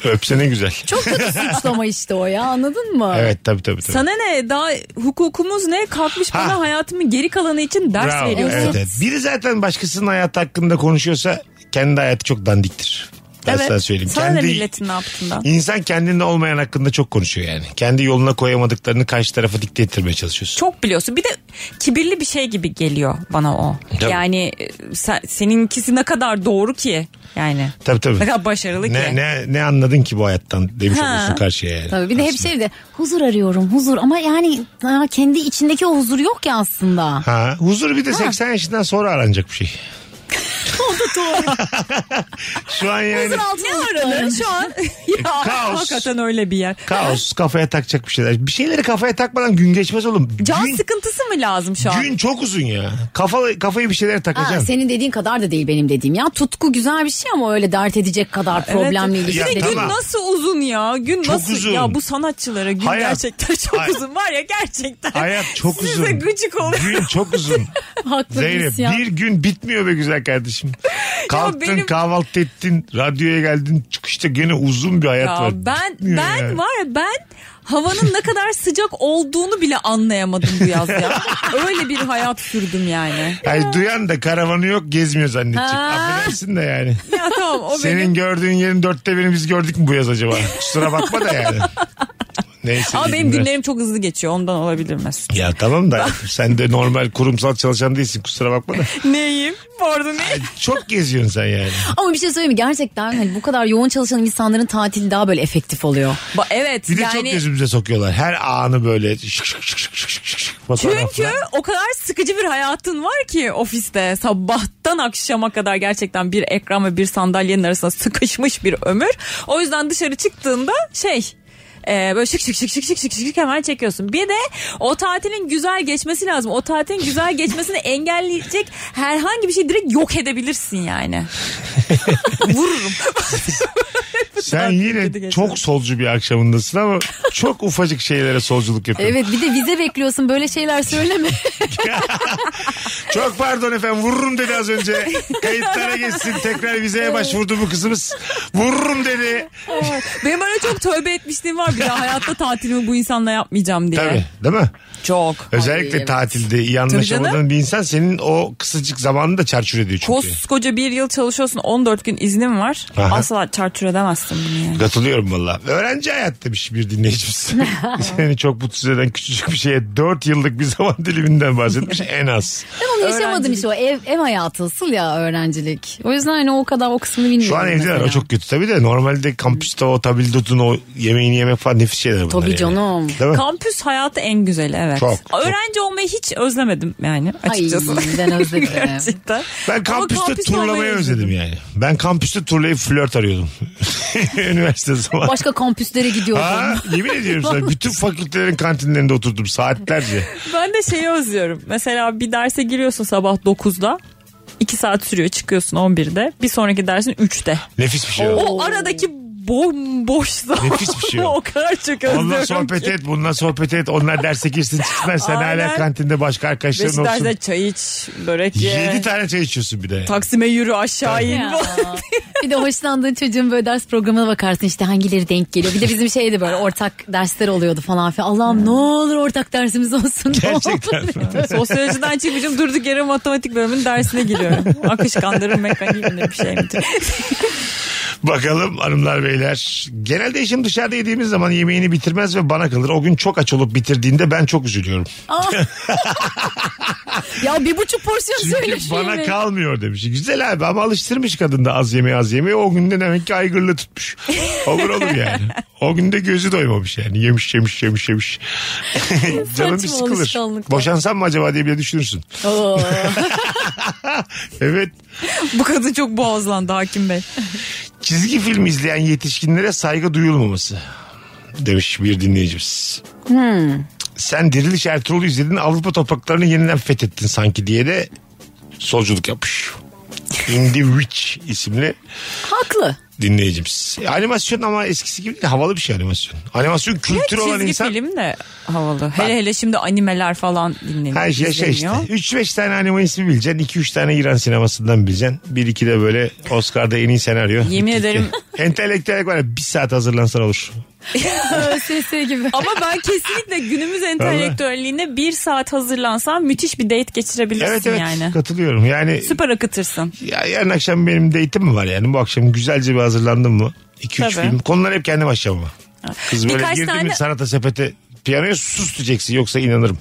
S3: Öpse ne güzel.
S4: Çok kötü suçlama işte o ya anladın mı?
S3: Evet tabii tabii. tabii.
S5: Sana ne daha hukukumuz ne kalkmış
S3: Ha.
S5: bana hayatımın geri kalanı için ders
S3: Bravo.
S5: veriyorsun.
S3: Evet, evet. Biri zaten başkasının hayatı hakkında konuşuyorsa kendi hayatı çok dandiktir. Ben
S5: Evet.
S3: sana söyleyeyim.
S5: Sonra da milletin ne yaptığından.
S3: İnsan kendinde olmayan hakkında çok konuşuyor yani. Kendi yoluna koyamadıklarını karşı tarafa dikte ettirmeye çalışıyorsun.
S5: Çok biliyorsun. Bir de kibirli bir şey gibi geliyor bana o.
S3: Tabii.
S5: Yani e, sen, seninkisi ne kadar doğru ki yani.
S3: Tabii tabii.
S5: Ne kadar başarılı
S3: ne,
S5: ki.
S3: Ne, ne anladın ki bu hayattan demiş
S5: Ha.
S3: olursun karşıya yani.
S4: Tabii bir de hep
S3: Aslında.
S4: şey de huzur arıyorum huzur ama yani daha kendi içindeki o huzur yok ya aslında.
S3: Ha, huzur bir de 80 yaşından sonra aranacak bir
S5: (laughs)
S3: şey. (laughs) Şu an yani
S4: Huzur altı
S5: Aranır şu an. (laughs) ya,
S3: Kaos.
S5: Hakikaten öyle bir yer.
S3: kaos kafaya takacak bir şeyler. Bir şeyleri kafaya takmadan gün geçmez oğlum.
S5: Can
S3: gün,
S5: sıkıntısı mı lazım şu an?
S3: gün çok uzun ya. Kafa, kafayı bir şeylere
S4: Ha,
S3: takacaksın.
S4: senin dediğin kadar da değil benim dediğim ya. Tutku güzel bir şey ama öyle dert edecek kadar problemli
S5: evet. Bir
S4: ilişki
S5: de
S3: Ya
S4: değil.
S5: gün
S3: tamam.
S5: nasıl uzun ya? Gün
S3: Çok
S5: nasıl?
S3: uzun.
S5: Ya bu sanatçılara gün
S3: Hayat-
S5: gerçekten çok
S3: Hayat-
S5: uzun var ya gerçekten.
S3: Hayat çok uzun.
S5: Size gıcık oluyor.
S3: Gün çok
S5: (laughs)
S3: uzun.
S4: (laughs) Haklı
S3: Zeynep
S4: birisi ya.
S3: bir gün bitmiyor be güzel
S5: (laughs)
S3: kardeşim. Kalktın
S5: benim-
S3: kahvaltı ettin radyoya geldin çıkışta gene uzun bir hayat
S5: Ya
S3: var.
S5: ben
S3: Bitmiyor
S5: ben
S3: ya.
S5: var ya ben havanın ne kadar sıcak olduğunu bile anlayamadım bu
S3: (laughs)
S5: yaz ya. Öyle bir hayat sürdüm yani.
S3: Ay, duyan da karavanı yok gezmiyor zannedecek.
S5: Ha.
S3: Affedersin de yani.
S5: (laughs) Ya tamam o
S3: Senin
S5: benim.
S3: gördüğün yerin dörtte beni biz gördük mü bu yaz acaba? Kusura bakma da
S5: (laughs)
S3: yani. Neyse.
S5: Ama benim
S3: diyeyim ben.
S5: günlerim çok hızlı geçiyor ondan olabilir Mesut.
S3: Ya tamam da sen de normal kurumsal çalışan değilsin kusura bakma da.
S5: Neyim? Bu arada neyim?
S3: Çok geziyorsun sen yani.
S4: Ama bir şey söyleyeyim mi? Gerçekten hani bu kadar yoğun çalışan insanların tatili daha böyle efektif oluyor.
S5: Ba- evet
S3: Bir de çok
S5: yani
S3: gözümüze sokuyorlar. Her anı böyle şık şık şık şık şık şık şık şık fotoğraflar.
S5: çünkü o kadar sıkıcı bir hayatın var ki ofiste sabahtan akşama kadar gerçekten bir ekran ve bir sandalyenin arasında sıkışmış bir ömür. O yüzden dışarı çıktığında şey e, böyle şık şık şık şık şık şık şık hemen çekiyorsun. Bir de o tatilin güzel geçmesi lazım. O tatilin güzel geçmesini engelleyecek herhangi bir şey direkt yok edebilirsin yani. Vururum.
S3: Sen
S5: Çok kötü
S3: yine
S5: geçti.
S3: çok solcu bir akşamındasın ama çok ufacık şeylere solculuk yapıyorsun.
S4: Evet bir de vize bekliyorsun böyle şeyler
S3: (laughs)
S4: söyleme.
S3: Çok pardon efendim vururum dedi az önce. Kayıtlara geçsin tekrar vizeye başvurdu bu kızımız. Vururum dedi.
S5: Benim öyle çok tövbe etmişliğim var bir daha hayatta tatilimi bu insanla yapmayacağım diye.
S3: Tabii değil mi?
S5: Çok.
S3: Özellikle tatilde iyi anlaşamadığın
S5: canım.
S3: bir insan senin o kısacık zamanını da çarçur ediyor çünkü.
S5: Koskoca bir yıl çalışıyorsun 14 gün iznim var.
S3: Aha.
S5: Asla çarçur edemezsin bunu yani.
S3: Katılıyorum valla. Öğrenci hayat demiş bir
S4: (laughs)
S3: dinleyicimiz. Seni çok mutsuz eden küçücük bir şeye 4 yıllık bir zaman diliminden bahsetmiş en az.
S4: Ben onu yaşamadım
S5: Öğrencilik.
S4: işte o ev, ev hayatı asıl ya öğrencilik. O yüzden hani o kadar o kısmını
S3: Şu
S4: bilmiyorum.
S3: an evdeler o
S4: mesela.
S3: çok kötü tabii de normalde kampüste o tabildotun o yemeğini yemek falan nefis şeyler bunlar.
S4: Tabii
S3: yani.
S4: canım.
S3: Değil mi?
S5: Kampüs hayatı en güzeli evet.
S3: Çok, çok.
S5: Öğrenci olmayı hiç özlemedim yani
S4: Ay
S5: açıkçası. (laughs)
S3: (laughs)
S4: ben özledim.
S5: Gerçekten.
S3: Ben
S5: Ama
S3: kampüste
S5: kampüs
S3: turlamayı
S5: olmayı
S3: özledim yani. Ben kampüste turlayıp flört arıyordum. (laughs) Üniversite zamanı.
S4: Başka kampüslere
S3: Ha,
S4: gidiyordum.
S3: yemin ediyorum sana bütün fakültelerin kantinlerinde oturdum saatlerce.
S5: Ben de şeyi özlüyorum. Mesela bir derse giriyorsun sabah 9'da. 2 saat sürüyor çıkıyorsun 11'de. Bir sonraki dersin 3'te.
S3: Nefis bir
S4: (laughs)
S3: şey oldu.
S5: O aradaki bomboş zaman.
S3: Nefis bir şey o.
S5: (laughs) o kadar çok özlüyorum.
S3: Onunla sohbet
S5: ki.
S3: et, bununla sohbet et. Onlar derse girsin çıksınlar. Sen hala
S5: Aynen.
S3: kantinde başka arkadaşların olsun.
S5: Beşiktaş'ta çay iç, börek ye.
S3: 7 tane çay içiyorsun bir de.
S5: Taksim'e yürü aşağı in.
S4: Ya. bir de hoşlandığın çocuğun böyle ders programına bakarsın işte hangileri denk geliyor. Bir de bizim şeydi böyle ortak dersler oluyordu falan filan. Allah'ım ne olur ortak dersimiz olsun. (laughs) ne olur.
S3: Gerçekten.
S5: Sosyolojiden çıkmışım durduk yere matematik bölümünün dersine giriyorum. Akışkanların mekaniği mi ne bir şey mi?
S3: Bakalım hanımlar beyler. Genelde eşim dışarıda yediğimiz zaman yemeğini bitirmez ve bana kalır. O gün çok aç olup bitirdiğinde ben çok üzülüyorum.
S4: ya bir buçuk porsiyon söyle
S3: Çünkü
S4: şu
S3: bana
S4: yemeği.
S3: kalmıyor demiş. Güzel abi ama alıştırmış kadın da az yemeği az yemeği. O günde demek ki aygırlı tutmuş. O gün olur
S4: (laughs)
S3: yani. O günde gözü doymamış yani. Yemiş yemiş yemiş yemiş. Canım bir
S4: Saçma
S3: sıkılır.
S4: alışkanlıklar.
S3: Boşansam mı acaba diye bile düşünürsün.
S4: Oo.
S3: (laughs) Evet.
S5: Bu kadın çok boğazlandı Hakim Bey.
S3: Çizgi film izleyen yetişkinlere saygı duyulmaması demiş bir dinleyicimiz.
S5: Hmm.
S3: Sen Diriliş Ertuğrul'u izledin Avrupa topraklarını yeniden fethettin sanki diye de solculuk yapmış. In the Witch isimli
S4: Haklı.
S3: dinleyicimiz. E, Animasyon ama eskisi gibi değil. Havalı bir şey animasyon. Animasyon kültür olan
S5: Çizgi
S3: insan.
S5: film de havalı. Hele hele şimdi animeler falan dinleniyor.
S3: Her şey, şey işte.
S5: izleniyor.
S3: 3-5 tane anime ismi bileceksin. 2-3 tane İran sinemasından bileceksin. 1-2 de böyle Oscar'da en iyi senaryo.
S5: Yemin
S3: Bitti.
S5: ederim.
S3: Entelektüel var ya bir saat hazırlansan olur.
S4: ÖSS gibi.
S5: Ama ben kesinlikle günümüz entelektüelliğine bir saat hazırlansam müthiş bir date geçirebilirsin
S3: Evet evet
S5: yani.
S3: katılıyorum. Yani
S5: Süper akıtırsın.
S3: ya yarın akşam benim date'im mi var yani? Bu akşam güzelce bir hazırlandım mı? 2-3
S5: Tabii.
S3: film. Konular hep kendim açacağım ama. Kız böyle
S5: Birkaç
S3: girdi mi
S5: tane-
S3: sanata sepete piyanoya sus diyeceksin yoksa inanırım.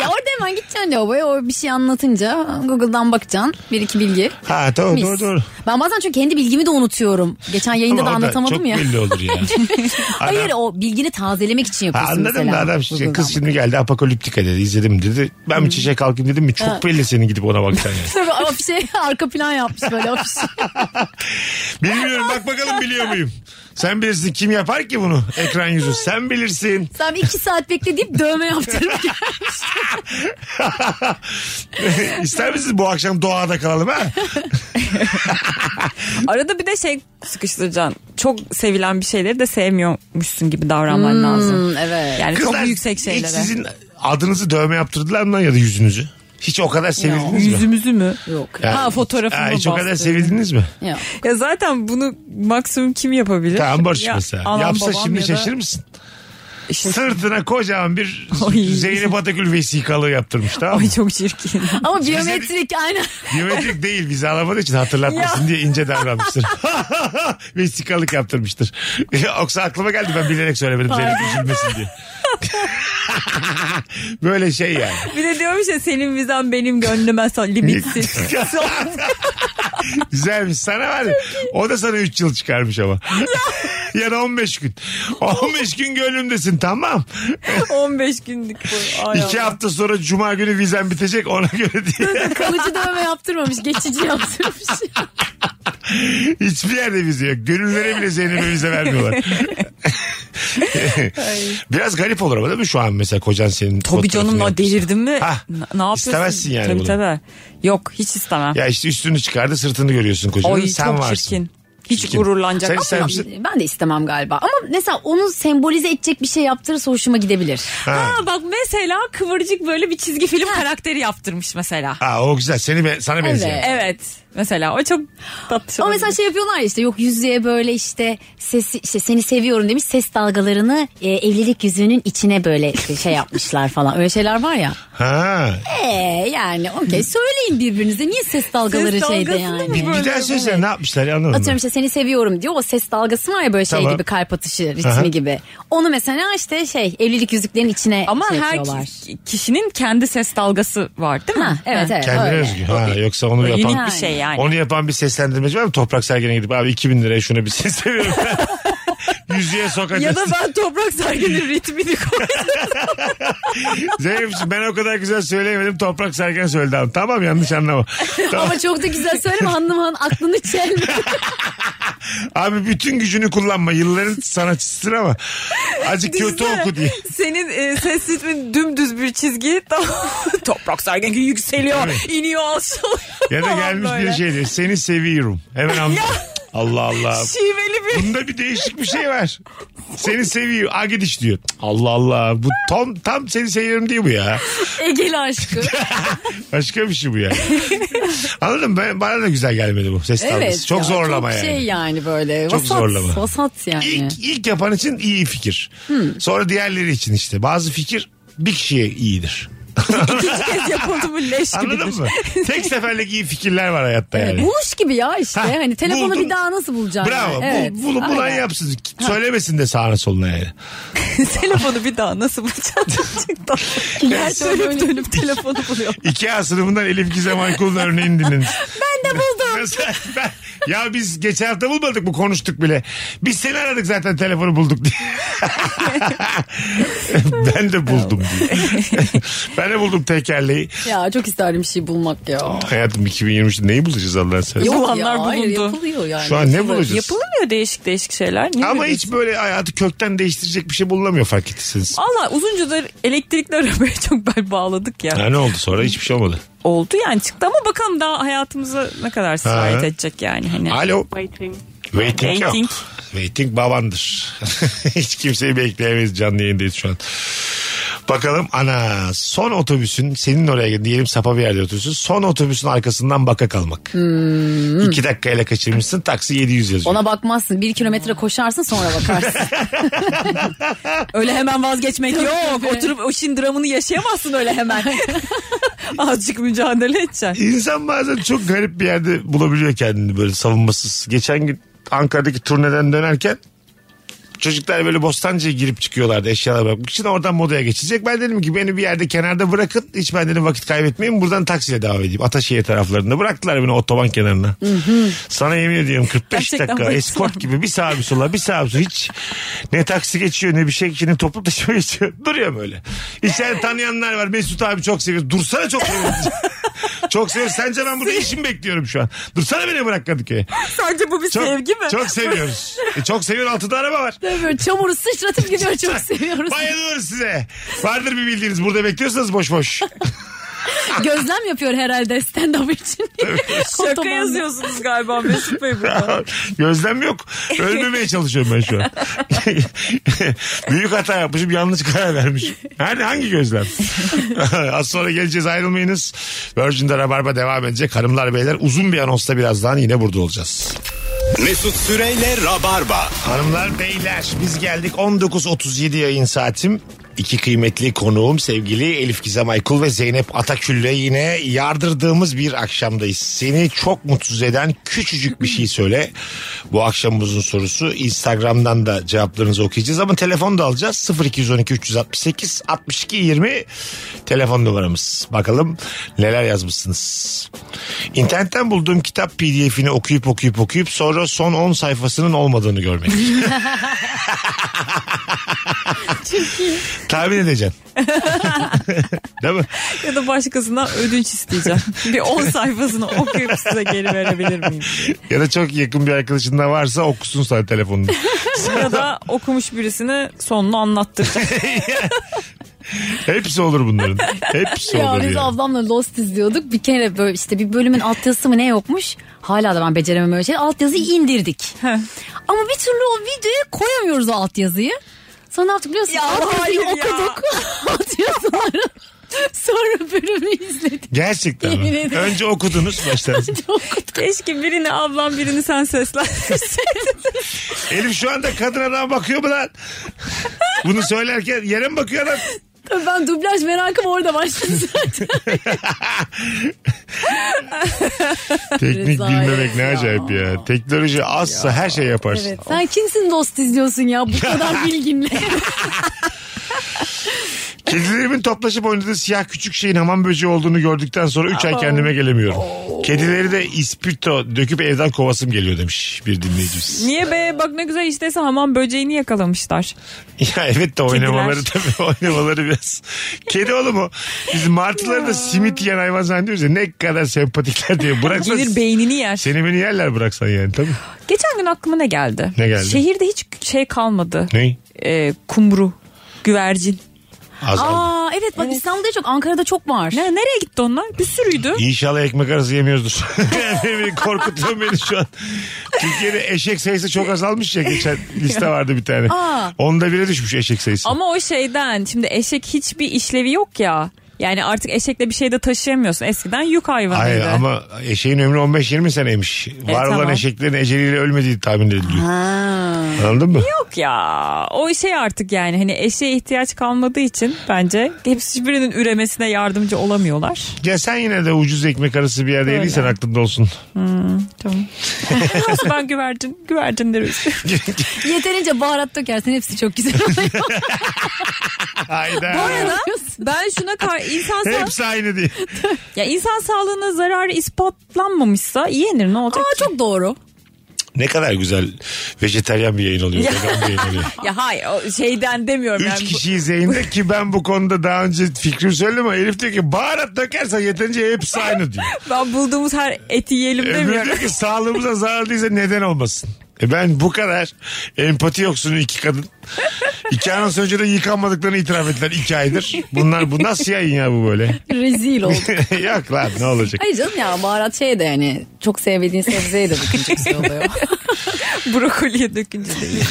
S4: ya orada hemen gideceksin lavaboya o bir şey anlatınca Google'dan bakacaksın bir iki bilgi.
S3: Ha tamam
S4: Mis.
S3: doğru doğru.
S4: Ben bazen çünkü kendi bilgimi de unutuyorum. Geçen yayında
S3: Ama
S4: da
S3: o da
S4: anlatamadım
S3: çok
S4: ya.
S3: belli olur ya.
S4: (laughs) Hayır o bilgini tazelemek için
S3: Ha,
S4: yapıyorsun
S3: anladım da
S4: mesela.
S3: adam şimdi,
S4: Google'dan
S3: kız şimdi geldi apokaliptika dedi izledim dedi. Ben bir çiçek kalkayım dedim mi çok belli senin gidip ona bakacaksın yani.
S4: Tabii afişe şey, (laughs) arka plan yapmış böyle şey. afiş.
S3: Bilmiyorum bak bakalım biliyor muyum? Sen bilirsin kim yapar ki bunu ekran yüzü sen bilirsin. (laughs)
S4: Sen bir iki saat bekle deyip dövme yaptırmış.
S3: İster misiniz bu akşam doğada kalalım ha?
S5: Arada bir de şey sıkıştıracaksın. Çok sevilen bir şeyleri de sevmiyormuşsun gibi davranman lazım.
S4: evet.
S5: Yani
S3: Hmm. Kızlar
S5: E, çok yüksek şeylere.
S3: hiç sizin adınızı dövme yaptırdılar mı lan ya da yüzünüzü? Hiç o kadar sevildiniz mi?
S5: Yüzümüzü mü?
S4: Yok.
S3: Yani-
S5: Ha
S3: Ha,
S5: fotoğrafımı
S3: hiç o kadar
S5: bastırıyor.
S3: sevildiniz mi?
S4: (laughs) Yok.
S5: Ya zaten bunu maksimum kim yapabilir?
S3: Tamam Barış
S5: Ya
S3: mesela.
S5: anam,
S3: Yapsa
S5: babam
S3: şimdi
S5: ya da- şey-
S3: şaşırır mısın?
S5: İşte-
S3: Sırtına kocaman bir
S5: Ay.
S3: Zeynep Atakül vesikalığı yaptırmış tamam mı?
S5: Ay çok (laughs) çirkin.
S4: Ama biyometrik (laughs) aynen.
S3: Biyometrik değil vize alamadığı için hatırlatmasın diye ince davranmıştır. (laughs) Vesikalık yaptırmıştır. (laughs) Yoksa aklıma geldi ben bilerek söylemedim Zeynep üzülmesin diye. (laughs) Böyle şey yani.
S5: bir de diyormuş ya senin vizen benim gönlüme son limitsiz. Son-
S3: (laughs) Güzelmiş. Sana var. ya, O da sana 3 yıl çıkarmış
S5: (laughs)
S3: ama. ya da 15 gün. 15 gün gönlümdesin tamam.
S5: (laughs) 15 günlük bu. Ay
S3: 2
S5: Allah.
S3: hafta sonra cuma günü vizen bitecek ona göre
S5: (laughs)
S3: diye.
S4: Kalıcı dövme yaptırmamış. Geçici yaptırmış.
S3: Hiçbir yerde vize yok. Gönüllere bile Zeynep'e vize
S5: (laughs)
S3: vermiyorlar. Biraz garip olur ama değil mi şu an mesela kocan senin
S5: Tabii canım
S3: fotoğrafını
S5: la
S3: yapmış.
S5: delirdin mi?
S3: Hah.
S5: N- ne yapıyorsun?
S3: İstemezsin yani
S5: Tabii
S3: bunu.
S5: tabii. Yok hiç istemem.
S3: Ya işte üstünü çıkardı sırtını görüyorsun kocanın.
S5: Ay
S3: Sen
S5: çok
S3: varsın.
S5: çirkin. Hiç
S3: Çirkin.
S5: gururlanacak.
S3: Sen
S5: Ama
S3: ister misin?
S4: ben de istemem galiba. Ama mesela onu sembolize edecek bir şey yaptırırsa hoşuma gidebilir.
S5: Ha bak mesela kıvırcık böyle bir çizgi film karakteri yaptırmış mesela.
S3: Aa, o güzel. Seni be- sana benziyor.
S4: Evet.
S5: Evet. Mesela o çok tatlı.
S4: Ama mesela şey yapıyorlar ya işte yok yüzüğe böyle işte sesi işte seni seviyorum demiş ses dalgalarını e, evlilik yüzüğünün içine böyle şey yapmışlar falan. Öyle şeyler var ya.
S3: Ha.
S4: Ee, yani okey söyleyin birbirinize niye ses dalgaları
S5: Ses
S4: şeyde
S5: dalgasını
S4: yani.
S5: mı
S3: Bir, bir daha söylesene ne yapmışlar ya, anlamadım.
S4: Atıyorum işte seni seviyorum diyor. O ses dalgası var ya böyle
S3: Tamam.
S4: şey gibi kalp atışı ritmi
S3: Aha.
S4: gibi. Onu mesela işte şey evlilik yüzüklerin içine
S5: Ama
S4: şey
S5: her
S4: yapıyorlar.
S5: ki- kişinin kendi ses dalgası var değil mi?
S4: Ha, evet evet
S3: Kendine
S4: öyle.
S3: özgü. Ha, yoksa onu
S5: Böyle
S3: yapan
S5: Unik bir şey yani.
S3: Onu yapan bir seslendirmeci var mı? Toprak sergine gidip abi 2000 liraya şunu bir sesleniyorum. (laughs) Yüzüğe sokacağız.
S5: Ya da ben toprak serginin ritmini koy.
S3: Zeynep'ciğim ben o kadar güzel söyleyemedim. Toprak sergen söyledi abi. Tamam yanlış anlama. Tamam. (laughs)
S4: Ama çok da güzel söyleme hanım hanım aklını çelme.
S3: Abi bütün gücünü kullanma. Yılların sanatçısın ama. Azıcık kötü
S5: Düşünsene,
S3: oku diye.
S5: Senin e, ses ritmin dümdüz bir çizgi. (laughs) Tamam. Toprak sergen yükseliyor, iniyor, alçalıyor.
S3: Ya da
S5: falan
S3: gelmiş bir
S5: böyle.
S3: şey diyor. Seni seviyorum. Hemen anla. Allah Allah.
S5: Şiveli bir.
S3: Bunda bir değişik bir şey var. Seni seviyor. A gidiş diyor. Allah Allah. Bu tam, tam seni seviyorum diyor bu ya.
S4: Egeli aşkı.
S3: Başka bir şey bu
S4: (laughs)
S3: yani. Anladın mı? Ben, bana da güzel gelmedi bu ses dalgası. Çok
S4: ya,
S3: zorlama
S4: çok
S3: yani.
S4: şey yani böyle.
S3: Çok
S4: vasat,
S3: zorlama.
S4: Vasat yani. Hmm.
S3: İlk, ilk yapan için iyi fikir. Sonra diğerleri için işte. Bazı fikir bir kişiye iyidir.
S5: İkinci kez yapıldı mı leş
S3: Anladın
S5: gibidir.
S3: mı?
S4: (laughs)
S3: Tek seferlik iyi fikirler var hayatta yani.
S4: Buluş gibi ya işte.
S3: Ha,
S4: hani telefonu
S3: buldun.
S4: bir daha nasıl bulacaksın?
S3: Bravo.
S4: yani? Evet.
S3: Bu, bunu bulan
S4: Aynen.
S3: yapsın. Söylemesin de sağına soluna yani.
S5: (laughs) Telefonu bir daha
S3: (laughs)
S5: nasıl bulacağız? Çıktı.
S4: Gerçi öyle
S5: dönüp
S4: öyle.
S5: dönüp telefonu buluyor.
S3: İKEA sınıfından Elif Gizem Aykul'un örneğini dinlediniz.
S4: (laughs) Ben de
S3: (laughs)
S4: buldum.
S3: Nasıl? Ben- ya biz geçen hafta bulmadık mı konuştuk bile. Biz seni aradık zaten telefonu bulduk
S4: (laughs)
S3: diye. ben de buldum
S4: (laughs)
S3: diye. ben de buldum tekerleği.
S4: Ya çok isterdim bir şey bulmak ya.
S3: Hayatım 2023'te neyi bulacağız Allah'ın sen?
S4: Yok
S5: Bulanlar
S4: ya, hayır,
S5: bulundu.
S4: yapılıyor yani.
S3: Şu an ne
S4: Yapılıyor.
S3: bulacağız?
S5: Yapılmıyor değişik değişik şeyler. Ne
S3: Ama
S5: bileyim.
S3: hiç böyle hayatı kökten değiştirecek bir şey bulunamıyor fark ettiyseniz.
S5: Valla uzuncudur elektrikli (laughs) arabaya çok bel bağladık ya.
S3: Ha, ne oldu sonra hiçbir şey olmadı.
S5: Oldu yani çıktı ama bakalım daha hayatımıza ne kadar sirayet edecek yani. Hani.
S3: Alo. Waiting. yok.
S5: Waiting.
S3: (laughs) Waiting babandır. Hiç kimseyi bekleyemeyiz canlı yayındayız şu an. Bakalım ana son otobüsün senin oraya diyelim sapa bir yerde oturuyorsun. Son otobüsün arkasından baka kalmak. İki dakikayla kaçırmışsın taksi 700 yazıyor.
S4: Ona bakmazsın. Bir kilometre koşarsın sonra bakarsın.
S5: Öyle hemen vazgeçmek yok.
S4: tabii.
S5: Oturup o dramını yaşayamazsın öyle hemen. (laughs) Azıcık mücadele edeceksin.
S3: İnsan bazen çok garip bir yerde bulabiliyor kendini böyle savunmasız. Geçen gün Ankara'daki turneden dönerken çocuklar böyle Bostancı'ya girip çıkıyorlardı eşyalar bırakmak için. Oradan modaya geçecek. Ben dedim ki beni bir yerde kenarda bırakın. Hiç ben dedim vakit kaybetmeyin. Buradan taksiyle devam edeyim. Ataşehir taraflarında. Bıraktılar beni otoban kenarına. Sana yemin ediyorum 45
S5: Gerçekten
S3: dakika
S5: bu
S3: eskort gibi bir sağa bir sola bir sağa bir sola. Hiç ne taksi geçiyor ne bir şey geçiyor ne toplu taşıma geçiyor. (laughs) Duruyorum öyle. İçeride tanıyanlar var. Mesut abi çok seviyor. Dursana çok
S5: (laughs)
S3: seviyor. Çok seviyorum. Sence ben burada işimi bekliyorum şu an. Dursana beni bırak Kadıköy'e.
S5: Sence bu bir
S3: Çok,
S5: sevgi mi?
S3: Çok
S5: (laughs)
S3: seviyoruz. E, çok seviyor altında araba var.
S4: (laughs) Böyle çamuru sıçratıp gidiyor çok seviyoruz.
S3: Bayılıyoruz size. Vardır bir bildiğiniz. Burada bekliyorsanız boş boş.
S4: Gözlem yapıyor herhalde stand-up için.
S5: Şaka
S4: Otobanda.
S5: yazıyorsunuz galiba Mesut Bey
S3: (laughs)
S5: burada.
S3: Gözlem yok. Ölmemeye çalışıyorum ben şu an. Büyük hata yapmışım. Yanlış karar vermişim. Hani hangi gözlem? (laughs) Az sonra geleceğiz ayrılmayınız. Virgin'de Rabarba devam edecek. Hanımlar beyler uzun bir anonsla birazdan yine burada olacağız.
S2: Mesut Süreyle Rabarba.
S3: Hanımlar beyler biz geldik 19.37 yayın saatim. İki kıymetli konuğum sevgili Elif Gizem Aykul ve Zeynep Atakül'le yine yardırdığımız bir akşamdayız. Seni çok mutsuz eden küçücük bir şey söyle. Bu akşamımızın sorusu Instagram'dan da cevaplarınızı okuyacağız ama telefon da alacağız. 0212 368 62 20 telefon numaramız. Bakalım neler yazmışsınız. İnternetten bulduğum kitap pdf'ini okuyup okuyup okuyup sonra son 10 sayfasının olmadığını görmek. Tahmin edeceksin. (laughs) Değil mi?
S5: ya da başkasına ödünç
S3: (laughs)
S5: isteyeceğim. bir 10 sayfasını okuyup size geri verebilir miyim?
S3: Ya da çok yakın bir arkadaşın da varsa okusun sana telefonunu.
S5: Ya da okumuş birisini
S3: (laughs)
S5: sonunu anlattıracağım.
S3: Hepsi olur bunların. Hepsi
S4: Ya
S3: olur
S4: biz
S3: yani.
S4: ablamla Lost izliyorduk. Bir kere böyle işte bir bölümün altyazısı mı ne yokmuş. Hala da ben beceremem öyle şey. Altyazıyı indirdik. Ama bir türlü o videoya koyamıyoruz o altyazıyı. Sonra ne yaptık biliyor musun?
S5: Ya hayır
S4: altyazıyı
S5: ya.
S4: okuduk. (laughs) Altyazıları. Sonra bölümü izledik. (laughs)
S3: Gerçekten
S4: Yemin
S3: mi?
S4: ederim.
S3: Önce okudunuz baştan.
S5: Keşke birini ablam birini
S3: (laughs)
S5: sen seslendirsin.
S3: Elif şu anda kadın adam bakıyor mu lan? Bunu söylerken yere mi bakıyor adam?
S4: Tabii ben dublaj merakım orada başladı
S5: (laughs)
S4: zaten.
S3: Teknik
S4: Rezalet
S3: bilmemek ne
S4: ya.
S3: acayip ya. Teknoloji azsa her şey yaparsın.
S4: evet. Sen kimsin Lost izliyorsun ya bu kadar bilginle?
S3: Kedilerimin toplaşıp oynadığı siyah küçük şeyin hamam böceği olduğunu gördükten sonra 3 ay kendime gelemiyorum. Kedileri de ispirto döküp evden kovasım geliyor demiş bir dinleyicimiz.
S5: Niye be bak ne güzel işteyse hamam böceğini yakalamışlar.
S3: (laughs) Ya evet de oynamaları tabii oynamaları biraz. Kedi oğlum o. Biz martıları da simit yiyen hayvan zannediyoruz ya ne kadar sempatikler diye. Bıraksan
S5: Gelir beynini yer.
S3: seni beni yerler bıraksan yani tabii.
S5: Geçen gün aklıma ne geldi?
S3: Ne geldi?
S5: Şehirde hiç şey kalmadı.
S3: Ney?
S5: Ee, kumru, güvercin.
S3: Azaldı.
S4: Aa evet bak İstanbul'da çok Ankara'da çok var.
S5: Ne, nereye gitti onlar? Bir sürüydü.
S3: İnşallah ekmek arası yemiyoruzdur. (laughs) Yani korkutuyor beni şu an. Türkiye'de eşek sayısı çok azalmış ya. Geçen liste vardı bir tane.
S4: Aa.
S3: Onda bire düşmüş eşek sayısı.
S5: Ama o şeyden şimdi eşek hiçbir işlevi yok ya. Yani artık eşekle bir şey de taşıyamıyorsun. Eskiden yük hayvanıydı.
S3: Hayır ama eşeğin ömrü 15-20 seneymiş. Var olan
S5: tamam.
S3: eşeklerin eceliyle ölmediği tahmin ediliyor. Anladın mı?
S5: Yok ya. O şey artık yani hani eşeğe ihtiyaç kalmadığı için bence hepsi hiçbirinin üremesine yardımcı olamıyorlar.
S3: Ya sen yine de ucuz ekmek arası bir yerde
S5: Öyle.
S3: yediysen aklında olsun.
S5: (laughs) Tamam. Olsun ben güvercin,
S3: (laughs)
S5: güvercinleri üzülüyorum.
S4: Yeterince baharat dökersen hepsi çok güzel (laughs) oluyor.
S3: Hayda.
S5: (laughs) ben şuna kar insan sağ-
S3: Hepsi aynı değil.
S5: ya insan sağlığına zararı ispatlanmamışsa yenir ne olacak?
S4: Aa
S5: ki?
S4: çok doğru.
S3: Ne kadar güzel vejeteryan bir yayın oluyor. vegan bir yayın oluyor.
S5: Ya hayır o şeyden
S3: (laughs)
S5: demiyorum
S3: Üç
S5: yani. Bu-
S3: kişiyiz yayında ki ben bu konuda daha önce fikrimi söyledim ama Elif diyor ki baharat dökersen yeterince hepsi aynı diyor.
S5: Ben bulduğumuz her eti yiyelim
S3: Öbürü
S5: demiyorum. (laughs)
S3: diyor ki sağlığımıza zarar değilse neden olmasın? E ben bu kadar empati yoksunu iki kadın. İki anons önce de yıkanmadıklarını itiraf ettiler iki aydır. Bunlar bu nasıl yayın ya bu böyle? (laughs)
S4: Rezil olduk.
S3: Yok lan ne olacak? (laughs)
S4: Hayır canım ya baharat şey de yani çok sevdiğin sebzeye de bakınca güzel oluyor.
S5: Brokoliye dökünce değil.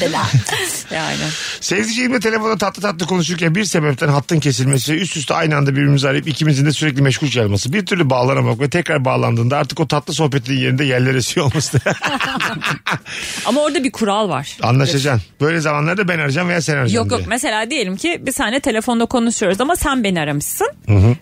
S5: yani.
S3: Sevdiceğimle telefonda tatlı tatlı konuşurken bir sebepten hattın kesilmesi, üst üste aynı anda birbirimizi arayıp ikimizin de sürekli meşgul çalması, bir türlü bağlanamak ve tekrar bağlandığında artık o tatlı sohbetin yerinde yerler esiyor olması.
S5: (laughs) Ama orada bir kural var.
S3: Anlaşacaksın. Böyle zamanlarda ben arayacağım veya sen arayacaksın
S5: Yok yok
S3: diye.
S5: mesela diyelim ki biz hani telefonda konuşuyoruz ama sen beni aramışsın.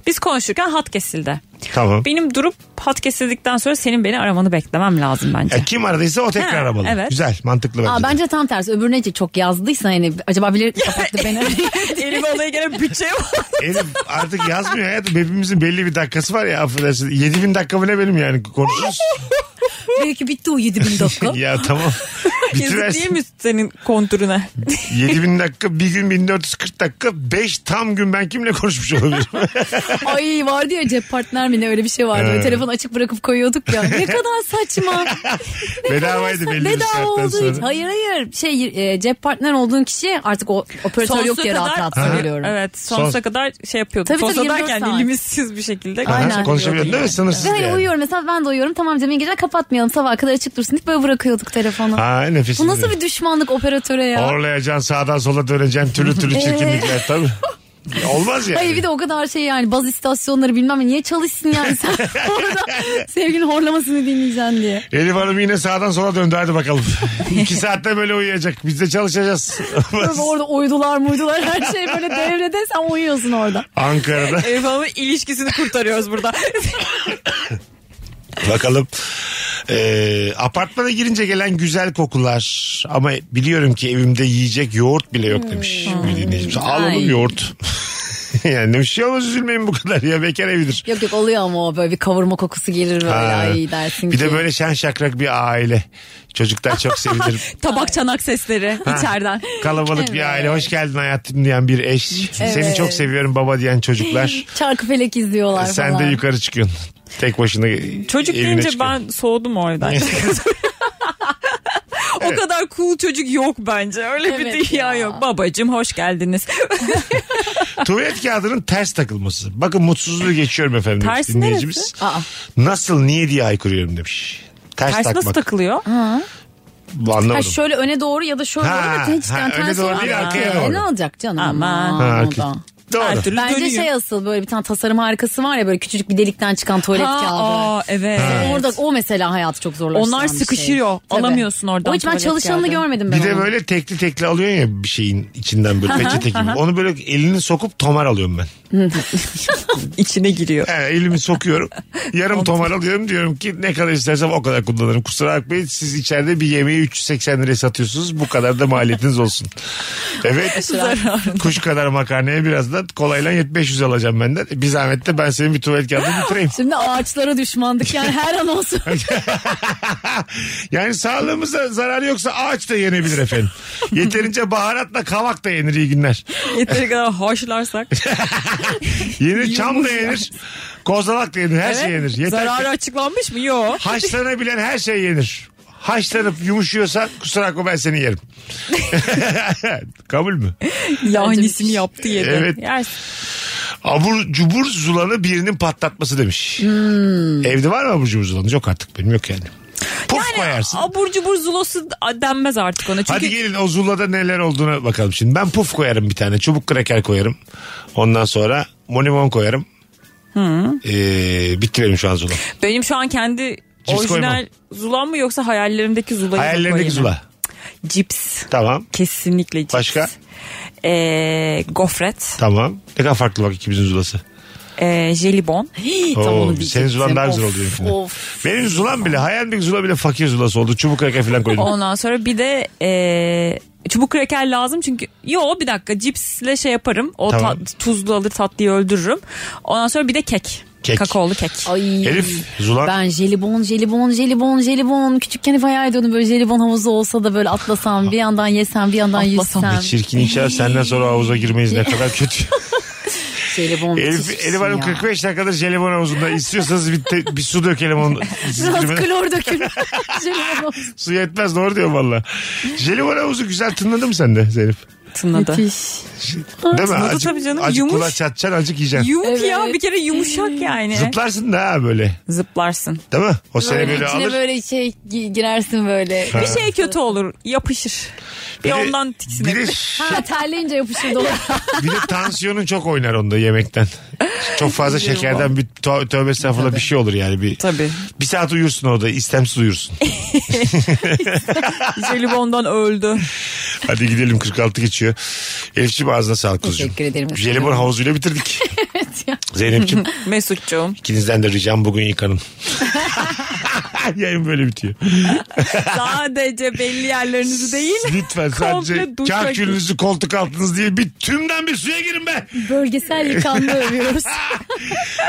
S5: Biz konuşurken hat kesildi.
S3: Tamam.
S5: Benim durup hat kesildikten sonra senin beni aramanı beklemem lazım bence.
S3: E, kim aradıysa o tekrar
S5: Ha,
S3: aramalı.
S5: evet.
S3: Güzel, mantıklı bence.
S4: Aa,
S3: de.
S4: bence tam tersi. Öbürüne çok yazdıysa hani acaba bilerek kapattı
S3: (laughs)
S4: beni.
S5: (laughs) Elif alayı gene bütçe var.
S3: Elif artık yazmıyor hayatım. Hepimizin belli bir dakikası var ya affedersin. 7000 dakika mı ne benim yani konuşuruz.
S5: (laughs)
S4: Belki bitti o 7000 dakika.
S3: (laughs) ya tamam.
S5: Yazık değil
S3: Bitiversin.
S5: mi senin kontürüne?
S3: 7000 dakika bir gün 1440 dakika 5 tam gün ben kimle konuşmuş
S5: (laughs)
S3: olabilirim?
S4: Ay vardı ya cep partner mi ne öyle bir şey vardı. Böyle
S3: Ee.
S4: telefonu açık bırakıp koyuyorduk
S3: (laughs)
S4: ya. Ne kadar saçma.
S3: Bedavaydı belli bir
S4: Bedava
S3: saatten
S4: olduğu için.
S3: sonra.
S4: Hayır hayır. Şey e, cep partner olduğun kişi artık o operatör yok diye rahat rahat söylüyorum.
S5: Evet sonsuza
S3: Son-
S5: kadar şey yapıyordum.
S4: Tabii, tabii,
S5: sonsuza
S4: 24
S5: derken
S4: saat.
S5: limitsiz bir şekilde.
S3: Aha,
S4: Aynen.
S3: Konuşabiliyorsun değil mi? Sınırsız
S4: Ve hani
S3: yani.
S4: uyuyorum mesela ben de uyuyorum. Tamam canım iyi geceler kapatmayalım. Sabaha kadar açık dursun deyip böyle bırakıyorduk telefonu.
S3: Ha, nefesini.
S4: Bu nasıl bir düşmanlık operatöre ya?
S3: Orlayacaksın sağdan sola döneceksin türlü türlü
S4: Evet.
S3: çirkinlikler tabii. Olmaz yani.
S4: Hayır bir de o kadar şey yani baz istasyonları bilmem ne. niye çalışsın yani sen
S3: (laughs)
S4: (laughs) orada sevgilinin horlamasını dinleyeceksin diye.
S3: Elif Hanım yine sağdan sola döndü hadi
S4: (laughs)
S3: bakalım. İki saatte böyle uyuyacak. Biz de çalışacağız.
S4: Böyle orada uydular muydular her şey böyle devrede sen uyuyorsun orada.
S3: (laughs) Ankara'da.
S5: Elif Hanım'ın ilişkisini kurtarıyoruz burada.
S3: (laughs) Bakalım. Ee, apartmana girince gelen güzel kokular ama biliyorum ki evimde yiyecek yoğurt bile yok demiş bir dinleyicimiz. Al
S4: Hmm. Ay.
S3: oğlum yoğurt. (laughs) yani bir şey olmaz üzülmeyin bu kadar ya bekar evidir.
S4: Yok yok oluyor ama o böyle bir kavurma kokusu gelir böyle
S3: Ha.
S4: ay dersin
S3: bir
S4: ki.
S3: de böyle şen şakrak bir aile. Çocuklar çok sevinir.
S5: Tabak çanak sesleri içeriden.
S3: Kalabalık bir aile. Hoş geldin hayatım diyen bir eş. Seni çok seviyorum baba diyen
S4: (laughs)
S3: çocuklar.
S4: (laughs) Çarkı felek izliyorlar
S3: Sen
S4: falan.
S3: de yukarı çıkıyorsun. Tek başına
S5: Çocuk
S3: evine
S5: deyince
S3: çıkıyorsun.
S5: ben soğudum oradan.
S3: (laughs)
S5: (laughs) o kadar cool çocuk yok bence. Öyle bir
S4: Evet
S5: dünya
S4: ya.
S5: yok. Babacım hoş geldiniz.
S3: (laughs) Tuvalet kağıdının ters takılması. Bakın mutsuzluğu geçiyorum efendim. demiş
S5: Tersi
S3: dinleyicimiz.
S5: neresi?
S4: Aa.
S3: Nasıl niye diye aykırıyorum demiş. Ters,
S5: Ters nasıl
S3: takmak.
S5: takılıyor?
S3: Bu Anlamadım.
S4: Ha şöyle öne doğru ya da şöyle
S3: Ha,
S4: olur ama hiç
S3: ha,
S4: yani
S3: öne
S4: tersi
S3: doğru
S4: olmaz
S3: değil,
S4: ya.
S3: arkaya
S4: E,
S3: doğru.
S4: Ne olacak canım?
S5: Aman.
S4: Aman.
S3: Ha,
S4: o
S3: hareket.
S4: da.
S5: Her
S3: Doğru.
S5: türlü
S4: Bence
S5: dönüyor.
S4: şey asıl böyle bir tane tasarım harikası var ya böyle küçücük bir delikten çıkan tuvalet
S5: Ha,
S4: kağıdı.
S5: aa, evet.
S4: Orada o mesela hayatı çok zorlaştıran
S5: Onlar
S4: bir şey.
S5: sıkışıyor.
S4: Tabii.
S5: Alamıyorsun oradan
S4: O hiç ben
S5: tuvalet
S4: çalışanını
S5: kağıdı.
S4: görmedim ben.
S3: Bir de
S4: onun.
S3: böyle tekli tekli alıyorsun ya bir şeyin içinden böyle peçete gibi. Onu böyle elini sokup tomar alıyorum ben.
S5: İçine giriyor.
S3: He, elimi sokuyorum. Yarım tomar alıyorum diyorum ki ne kadar istersem o kadar kullanırım. Kusura bakmayın siz içeride bir yemeği 380 liraya satıyorsunuz. Bu kadar da maliyetiniz olsun. Evet. Kuş kadar makarnaya birazdan kolayla 7500 alacağım benden. Bir zahmet de ben senin bir tuvalet kağıdını bitireyim.
S4: Şimdi ağaçlara düşmandık yani her
S3: (laughs)
S4: an olsun.
S3: Yani sağlığımıza zararı yoksa ağaç da yenebilir efendim. Yeterince baharatla kavak da yenir iyi günler.
S5: Yeteri (laughs) kadar hoşlarsak.
S3: Yenir çam da yenir. Kozalak da yenir. Her şey yenir. Yeter ki-
S5: Zararı açıklanmış
S4: (laughs)
S5: mı? Yok.
S3: Haşlanabilen her şey yenir. Haşlanıp yumuşuyorsan kusura bakma ben seni yerim. Kabul mü?
S5: Yahnisini yaptı yedi.
S3: Evet.
S5: Yersin.
S3: Abur cubur zulanı birinin patlatması demiş. Evde var mı abur cubur zulanı? Yok artık benim yok yani. Puf koyarsın.
S5: Abur cubur zulosu denmez artık ona. Çünkü
S3: Hadi gelin o zulada neler olduğuna bakalım şimdi. Ben puf koyarım bir tane. Çubuk kraker koyarım. Ondan sonra monimon koyarım. Ee, bitti benim şu an zula.
S5: benim şu an kendi
S3: Cips
S5: orijinal zulam mı yoksa hayallerimdeki zulayı mı
S3: Hayallerindeki
S5: koyayım?
S3: zula.
S5: Cips.
S3: Tamam.
S5: Kesinlikle cips.
S3: Başka?
S5: Ee, gofret.
S3: Tamam. Ne kadar farklı bak ikimizin zulası.
S5: Ee, jelibon.
S3: Oo,
S4: Tam onu
S3: senin
S4: diyecektim.
S3: zulan daha güzel
S4: Of,
S3: oluyor. yine.
S4: Of.
S3: Benim zulam bile hayalimdeki zula bile fakir zulası oldu. Çubuk kraker falan koydum.
S5: Ondan sonra bir de ee, çubuk kraker lazım çünkü yo bir dakika cipsle şey yaparım. O
S3: Tamam.
S5: tat- tuzlu alır tatlıyı öldürürüm. Ondan sonra bir de kek.
S3: Kek.
S5: Kakaolu kek.
S4: Ay.
S3: Elif zulan.
S4: Ben jelibon, jelibon, jelibon, jelibon. Küçükken hep hayal ediyordum böyle jelibon havuzu olsa da böyle atlasam, bir yandan yesem, bir yandan
S5: Atlasam.
S3: Ne
S4: yüzsem.
S3: çirkin inşallah senden sonra havuza girmeyiz ne kadar
S4: (laughs)
S3: kötü.
S4: Jelibon
S3: Elif,
S4: müthişsin
S3: Elif Hanım
S4: ya.
S3: 45 dakikadır jelibon havuzunda. İstiyorsanız bir, te- bir su dökelim onu.
S4: (laughs) Biraz
S3: (laughs)
S4: klor dökülmüş. jelibon havuzu.
S3: Su yetmez doğru diyor valla. Jelibon havuzu güzel tınladı mı sende Zeynep?
S5: tınladı.
S4: Müthiş.
S3: Değil mi?
S5: Tadı
S3: Azıcık,
S5: tabii canım,
S3: azıcık
S5: yumuş.
S3: kulağa çatacaksın azıcık yiyeceksin.
S5: Yumuk
S4: Evet.
S5: ya bir kere yumuşak yani.
S3: Zıplarsın da ha böyle.
S5: Zıplarsın.
S3: Değil mi? O sene
S4: Böyle
S3: böyle
S4: içine
S3: alır.
S4: böyle şey gi- girersin böyle.
S5: Bir şey kötü olur yapışır. Bir,
S3: de-
S5: ondan
S3: Bir de,
S5: tiksinebilir.
S4: Ha terleyince yapışır dolar.
S3: (laughs) bir de tansiyonun çok oynar onda yemekten. Çok fazla şekerden bir tö- tövbe estağfurullah bir şey olur yani. Bir, (laughs)
S5: Tabii.
S3: bir saat uyursun orada istemsiz uyursun.
S5: Jelibondan öldü.
S3: Hadi gidelim 46 geçiyor. Elif'ciğim ağzına sağlık kuzucuğum.
S4: Teşekkür ederim.
S3: Jelibon havuzuyla bitirdik. Zeynep'ciğim
S5: Mesutcuğum.
S3: ikinizden de ricam bugün yıkanın. Yayın böyle bitiyor.
S5: Sadece belli yerlerinizi değil.
S3: Lütfen sadece
S5: Komple duşa gir.
S3: kahkülünüzü koltuk altınız değil bir tümden bir suya girin be.
S4: Bölgesel yıkanma övüyoruz.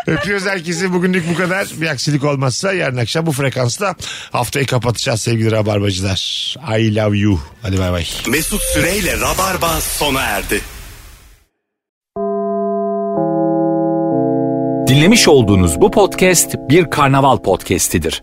S3: Öpüyoruz herkesi. Bugünlük bu kadar. Bir aksilik olmazsa yarın akşam bu frekansta haftayı kapatacağız sevgili rabarbacılar. I love you. Hadi bay bay.
S2: Mesut Süreyle Rabarba sona erdi.
S1: Dinlemiş olduğunuz bu podcast bir karnaval podcastidir.